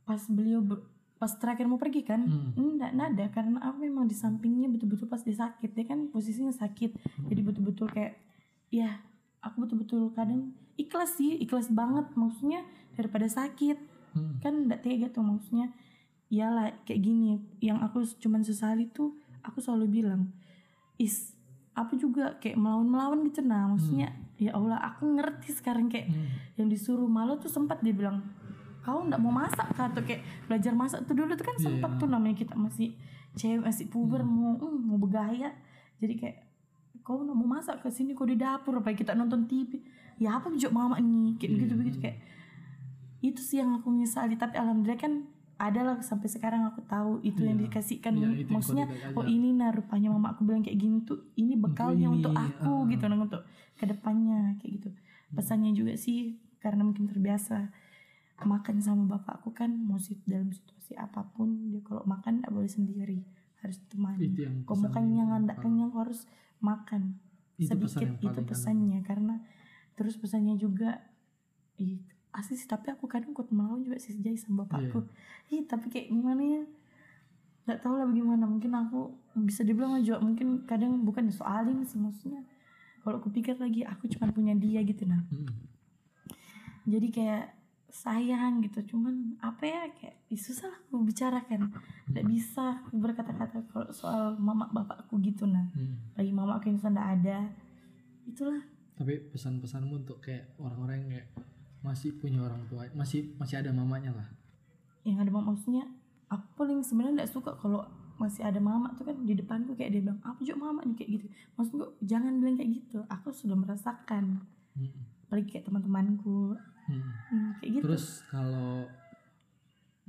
[SPEAKER 2] pas beliau ber- pas terakhir mau pergi kan
[SPEAKER 1] Hmm.
[SPEAKER 2] enggak nada karena aku memang di sampingnya betul-betul pas dia sakit dia kan posisinya sakit jadi betul-betul kayak ya aku betul-betul kadang ikhlas sih ikhlas banget maksudnya daripada sakit
[SPEAKER 1] Hmm.
[SPEAKER 2] kan enggak tega tuh maksudnya iyalah kayak gini yang aku cuman sesali tuh aku selalu bilang is aku juga kayak melawan-melawan gitu nah maksudnya ya Allah aku ngerti sekarang kayak yang disuruh malu tuh sempat dia bilang kau ndak mau masak kah tuh kayak belajar masak tuh dulu tuh
[SPEAKER 1] Iya.
[SPEAKER 2] kan sempat tuh namanya kita masih cewek masih puber
[SPEAKER 1] Hmm.
[SPEAKER 2] mau mm, mau bergaya jadi kayak kau ndak mau masak ke sini kau di dapur apa kita nonton TV ya apa juga mama nih
[SPEAKER 1] Iya.
[SPEAKER 2] kayak begitu begitu kayak itu sih yang aku menyesali tapi alhamdulillah kan adalah sampai sekarang aku tahu itu yang dikasihkan
[SPEAKER 1] Iya, itu yang
[SPEAKER 2] Kan maksudnya
[SPEAKER 1] kau tidak
[SPEAKER 2] oh ini nah rupanya mama aku bilang kayak gini tuh ini bekalnya
[SPEAKER 1] ini,
[SPEAKER 2] untuk
[SPEAKER 1] ah.
[SPEAKER 2] aku gitu nah untuk kedepannya kayak gitu pesannya juga sih karena mungkin terbiasa makan sama bapakku kan mau sit- dalam situasi apapun dia kalau makan nggak boleh sendiri harus
[SPEAKER 1] Itu
[SPEAKER 2] temani.
[SPEAKER 1] yang
[SPEAKER 2] Kau mau
[SPEAKER 1] pesan
[SPEAKER 2] kenyang
[SPEAKER 1] yang
[SPEAKER 2] nggak
[SPEAKER 1] paling-
[SPEAKER 2] kenyang kau harus makan
[SPEAKER 1] Itu pesan
[SPEAKER 2] sedikit
[SPEAKER 1] yang
[SPEAKER 2] itu
[SPEAKER 1] paling
[SPEAKER 2] pesannya karena terus pesannya juga ih asli sih tapi aku kadang ikut melawan juga sih sejai sama bapakku
[SPEAKER 1] Iya.
[SPEAKER 2] ih tapi kayak gimana ya nggak tahu lah bagaimana mungkin aku bisa dibilang juga mungkin kadang bukan soal ini sih maksudnya kalau kupikir lagi aku cuma punya dia gitu nah
[SPEAKER 1] Mm.
[SPEAKER 2] jadi kayak sayang gitu cuman apa ya kayak ih, susah lah aku bicarakan nggak
[SPEAKER 1] Hmm.
[SPEAKER 2] bisa aku berkata-kata kalau soal mama bapakku gitu nah
[SPEAKER 1] Mm.
[SPEAKER 2] lagi mama aku yang sudah nggak ada itulah
[SPEAKER 1] tapi pesan-pesanmu untuk kayak orang-orang yang kayak masih punya orang tua masih masih ada mamanya lah
[SPEAKER 2] yang ada mama maksudnya aku paling sebenarnya nggak suka kalau masih ada mama tuh kan di depanku kayak dia bilang apa juga mama nih kayak gitu maksudku jangan bilang kayak gitu aku sudah merasakan
[SPEAKER 1] Mm.
[SPEAKER 2] apalagi kayak teman-temanku
[SPEAKER 1] Mm.
[SPEAKER 2] hmm, kayak gitu
[SPEAKER 1] terus kalau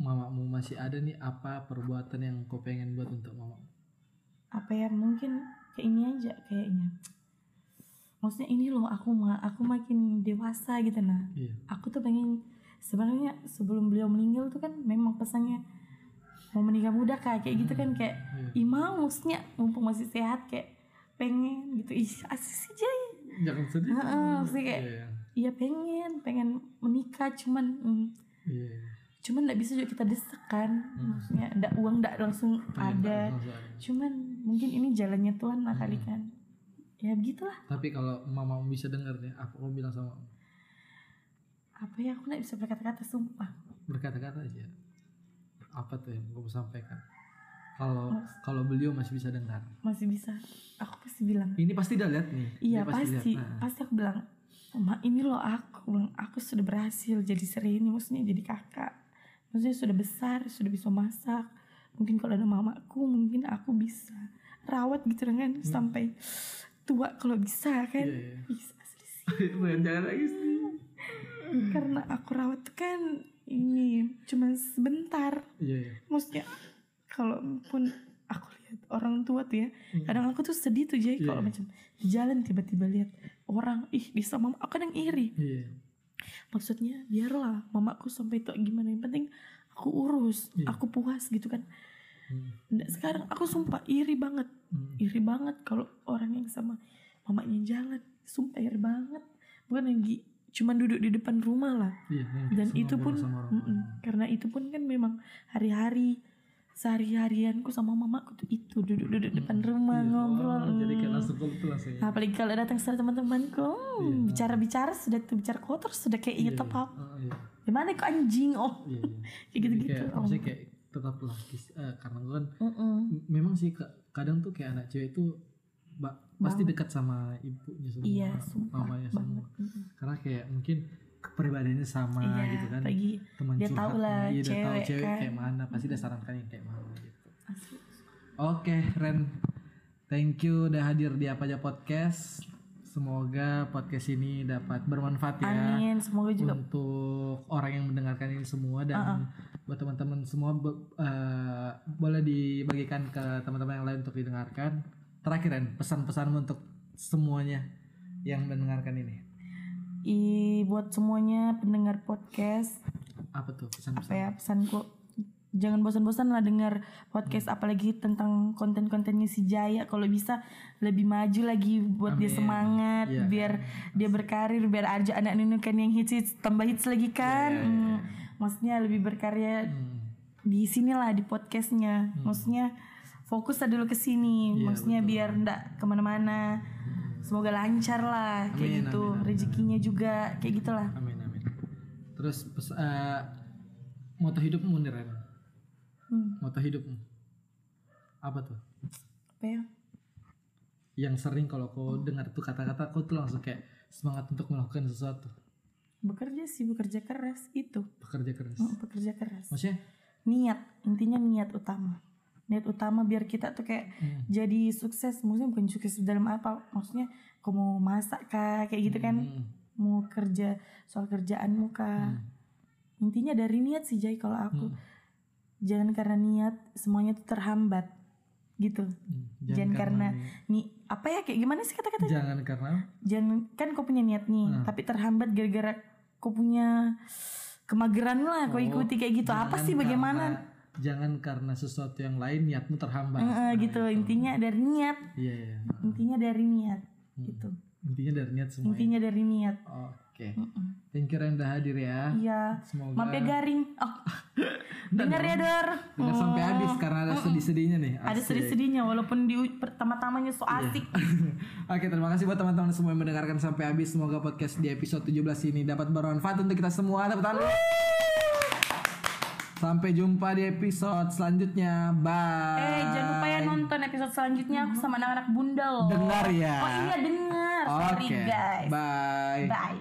[SPEAKER 1] mamamu masih ada nih apa perbuatan yang kau pengen buat untuk mama
[SPEAKER 2] apa ya mungkin kayak ini aja kayaknya maksudnya ini loh aku ma aku makin dewasa gitu nah
[SPEAKER 1] iya
[SPEAKER 2] aku tuh pengen sebenarnya sebelum beliau meninggal tuh kan memang pesannya mau menikah muda kak kayak gitu kan kayak
[SPEAKER 1] iya.
[SPEAKER 2] ih mau maksudnya mumpung masih sehat kayak pengen gitu ih asik sih Jay
[SPEAKER 1] jangan sedih
[SPEAKER 2] Heeh,
[SPEAKER 1] iya
[SPEAKER 2] sih kayak
[SPEAKER 1] iya
[SPEAKER 2] iya pengen pengen menikah cuman hmm,
[SPEAKER 1] iya
[SPEAKER 2] cuman nggak bisa juga kita desak kan maksudnya ndak uang ndak langsung
[SPEAKER 1] Pengen
[SPEAKER 2] ada
[SPEAKER 1] banget Hmm. Iya, langsung ada.
[SPEAKER 2] cuman mungkin ini jalannya Tuhan lah kali
[SPEAKER 1] Hmm.
[SPEAKER 2] kan ya begitulah
[SPEAKER 1] tapi kalau mamamu bisa denger nih apa kamu bilang sama mamamu?
[SPEAKER 2] apa ya aku nggak bisa berkata-kata sumpah
[SPEAKER 1] berkata-kata aja apa tuh yang kamu sampaikan kalau kalau beliau masih bisa dengar
[SPEAKER 2] masih bisa aku pasti bilang
[SPEAKER 1] ini pasti udah lihat nih Dia
[SPEAKER 2] iya
[SPEAKER 1] lihat.
[SPEAKER 2] pasti
[SPEAKER 1] Nah,
[SPEAKER 2] pasti aku bilang Ma ini loh aku Aku bilang aku sudah berhasil jadi Sereni maksudnya jadi kakak maksudnya sudah besar sudah bisa masak mungkin kalau ada mamaku mungkin aku bisa rawat gitu kan sampai tua kalau bisa kan
[SPEAKER 1] Hmm. Iya, iya.
[SPEAKER 2] bisa asli sih
[SPEAKER 1] Bukan, jangan nangis nih.
[SPEAKER 2] karena aku rawat tuh kan ini cuman sebentar
[SPEAKER 1] Iya, iya.
[SPEAKER 2] maksudnya kalau pun aku lihat orang tua tuh ya
[SPEAKER 1] Hmm.
[SPEAKER 2] kadang aku tuh sedih tuh jadi kalau
[SPEAKER 1] Iya.
[SPEAKER 2] macam di jalan tiba-tiba lihat orang ih bisa mama aku kadang iri
[SPEAKER 1] Iya.
[SPEAKER 2] maksudnya biarlah mamaku sampai tua gimana yang penting aku urus
[SPEAKER 1] Iya.
[SPEAKER 2] aku puas gitu kan
[SPEAKER 1] Hmm.
[SPEAKER 2] Nggak, sekarang aku sumpah iri banget
[SPEAKER 1] Hmm.
[SPEAKER 2] iri banget kalau orang yang sama mamanya jalan sumpah iri banget bukan lagi cuman duduk di depan rumah lah
[SPEAKER 1] Iya, iya.
[SPEAKER 2] dan
[SPEAKER 1] Semua
[SPEAKER 2] itu pun
[SPEAKER 1] ngobrol sama orang
[SPEAKER 2] mm-mm, karena itu pun kan memang hari-hari sehari-harianku sama mamaku tuh itu duduk-duduk depan rumah
[SPEAKER 1] Iya,
[SPEAKER 2] ngobrol
[SPEAKER 1] oh, jadi kayak
[SPEAKER 2] mm.
[SPEAKER 1] langsung peluk tuh langsung ya.
[SPEAKER 2] Nah, apalagi kalau datang sama teman-temanku mm,
[SPEAKER 1] Iya.
[SPEAKER 2] bicara-bicara sudah tuh bicara kotor sudah kayak
[SPEAKER 1] Iya,
[SPEAKER 2] inget
[SPEAKER 1] iya.
[SPEAKER 2] apa
[SPEAKER 1] Oh, iya.
[SPEAKER 2] gimana kok anjing oh
[SPEAKER 1] Iya, iya.
[SPEAKER 2] kayak
[SPEAKER 1] Jadi
[SPEAKER 2] gitu-gitu
[SPEAKER 1] kayak,
[SPEAKER 2] oh.
[SPEAKER 1] maksudnya kayak tetap laki eh, karena gue kan
[SPEAKER 2] Mm-mm.
[SPEAKER 1] m- memang sih ke- kadang tuh kayak anak cewek itu ba- pasti dekat sama ibunya semua
[SPEAKER 2] iya sumpah
[SPEAKER 1] mamanya
[SPEAKER 2] banget
[SPEAKER 1] semua
[SPEAKER 2] Mm-mm.
[SPEAKER 1] karena kayak mungkin kepribadiannya sama
[SPEAKER 2] iya
[SPEAKER 1] gitu kan
[SPEAKER 2] pagi
[SPEAKER 1] teman
[SPEAKER 2] dia tahu
[SPEAKER 1] curhatnya,
[SPEAKER 2] lah
[SPEAKER 1] iya, dia tahu
[SPEAKER 2] cewek
[SPEAKER 1] cewek
[SPEAKER 2] kan.
[SPEAKER 1] kayak mana pasti dia sarankan yang kayak mana gitu
[SPEAKER 2] asli
[SPEAKER 1] Oke, Ren. Thank you udah hadir di apa aja podcast. Semoga podcast ini dapat bermanfaat ya
[SPEAKER 2] amin semoga juga Uh-uh.
[SPEAKER 1] untuk orang yang mendengarkan ini semua dan buat teman-teman semua be- eh, boleh dibagikan ke teman-teman yang lain untuk didengarkan. Terakhir Ren, pesan-pesanmu untuk semuanya yang mendengarkan ini.
[SPEAKER 2] i buat semuanya pendengar podcast
[SPEAKER 1] Apa tuh
[SPEAKER 2] apa
[SPEAKER 1] pesan-pesan?
[SPEAKER 2] ya pesanku jangan bosan-bosan lah dengar podcast apalagi tentang konten-kontennya si Jaya kalau bisa lebih maju lagi buat dia
[SPEAKER 1] Amin.
[SPEAKER 2] semangat
[SPEAKER 1] Iya.
[SPEAKER 2] biar dia berkarir biar aja anak Nunu kan yang hits hits tambah hits lagi kan
[SPEAKER 1] Iya, iya, iya.
[SPEAKER 2] Hmm, maksudnya lebih berkarya
[SPEAKER 1] Hmm,
[SPEAKER 2] di sinilah di podcastnya maksudnya fokus lah dulu ke sini
[SPEAKER 1] Iya,
[SPEAKER 2] maksudnya
[SPEAKER 1] betul.
[SPEAKER 2] biar ndak kemana-mana semoga lancar lah kayak
[SPEAKER 1] Amin,
[SPEAKER 2] gitu
[SPEAKER 1] amin, amin,
[SPEAKER 2] rezekinya juga kayak gitulah
[SPEAKER 1] amin amin. Terus pes- eh, moto hidupmu nih Ren.
[SPEAKER 2] hmm,
[SPEAKER 1] Moto hidupmu. Apa tuh?
[SPEAKER 2] apa ya
[SPEAKER 1] yang sering kalau kau
[SPEAKER 2] Hmm.
[SPEAKER 1] dengar tuh kata-kata kau tuh langsung kayak semangat untuk melakukan sesuatu
[SPEAKER 2] bekerja sih bekerja keras itu
[SPEAKER 1] pekerja keras
[SPEAKER 2] Mm, bekerja keras
[SPEAKER 1] maksudnya
[SPEAKER 2] niat intinya niat utama niat utama biar kita tuh kayak
[SPEAKER 1] hmm,
[SPEAKER 2] jadi sukses maksudnya bukan sukses dalam apa maksudnya kau mau masak kah kayak gitu kan
[SPEAKER 1] hmm,
[SPEAKER 2] mau kerja soal kerjaanmu kah intinya dari niat sih Jai kalau aku
[SPEAKER 1] Hmm.
[SPEAKER 2] jangan karena niat semuanya tuh terhambat gitu
[SPEAKER 1] hmm.
[SPEAKER 2] Jangan nih apa ya kayak gimana sih kata-kata
[SPEAKER 1] jangan karena
[SPEAKER 2] jangan kan kau punya niat nih
[SPEAKER 1] Hmm.
[SPEAKER 2] tapi terhambat gara-gara kok punya kemageran lah
[SPEAKER 1] Oh,
[SPEAKER 2] kok ikuti kayak gitu apa sih bagaimana
[SPEAKER 1] Karena- jangan karena sesuatu yang lain niatmu terhambat.
[SPEAKER 2] Eh, gitu intinya dari niat
[SPEAKER 1] Iya iya.
[SPEAKER 2] intinya dari niat
[SPEAKER 1] Hmm.
[SPEAKER 2] gitu
[SPEAKER 1] Intinya dari niat semua. ya.
[SPEAKER 2] intinya dari niat
[SPEAKER 1] Oke. Thank you Ren udah hadir ya.
[SPEAKER 2] iya
[SPEAKER 1] Semoga Nah,
[SPEAKER 2] mampir garing oh denger ya dor
[SPEAKER 1] Dengar sampai habis karena ada sedih-sedihnya nih.
[SPEAKER 2] ada sedih-sedihnya walaupun di pertama-tamanya
[SPEAKER 1] Iya.
[SPEAKER 2] so asik
[SPEAKER 1] Oke, terima kasih buat teman-teman semua yang mendengarkan sampai habis. Semoga podcast di episode 17 ini dapat bermanfaat untuk kita semua. Tepuk tangan. Sampai jumpa di episode selanjutnya. Bye.
[SPEAKER 2] eh jangan lupa
[SPEAKER 1] Ah.
[SPEAKER 2] ya nonton episode selanjutnya aku sama anak-anak bunda loh
[SPEAKER 1] Dengar Hmm. ya.
[SPEAKER 2] oh iya dengar sorry
[SPEAKER 1] Oke.
[SPEAKER 2] guys
[SPEAKER 1] Bye.
[SPEAKER 2] bye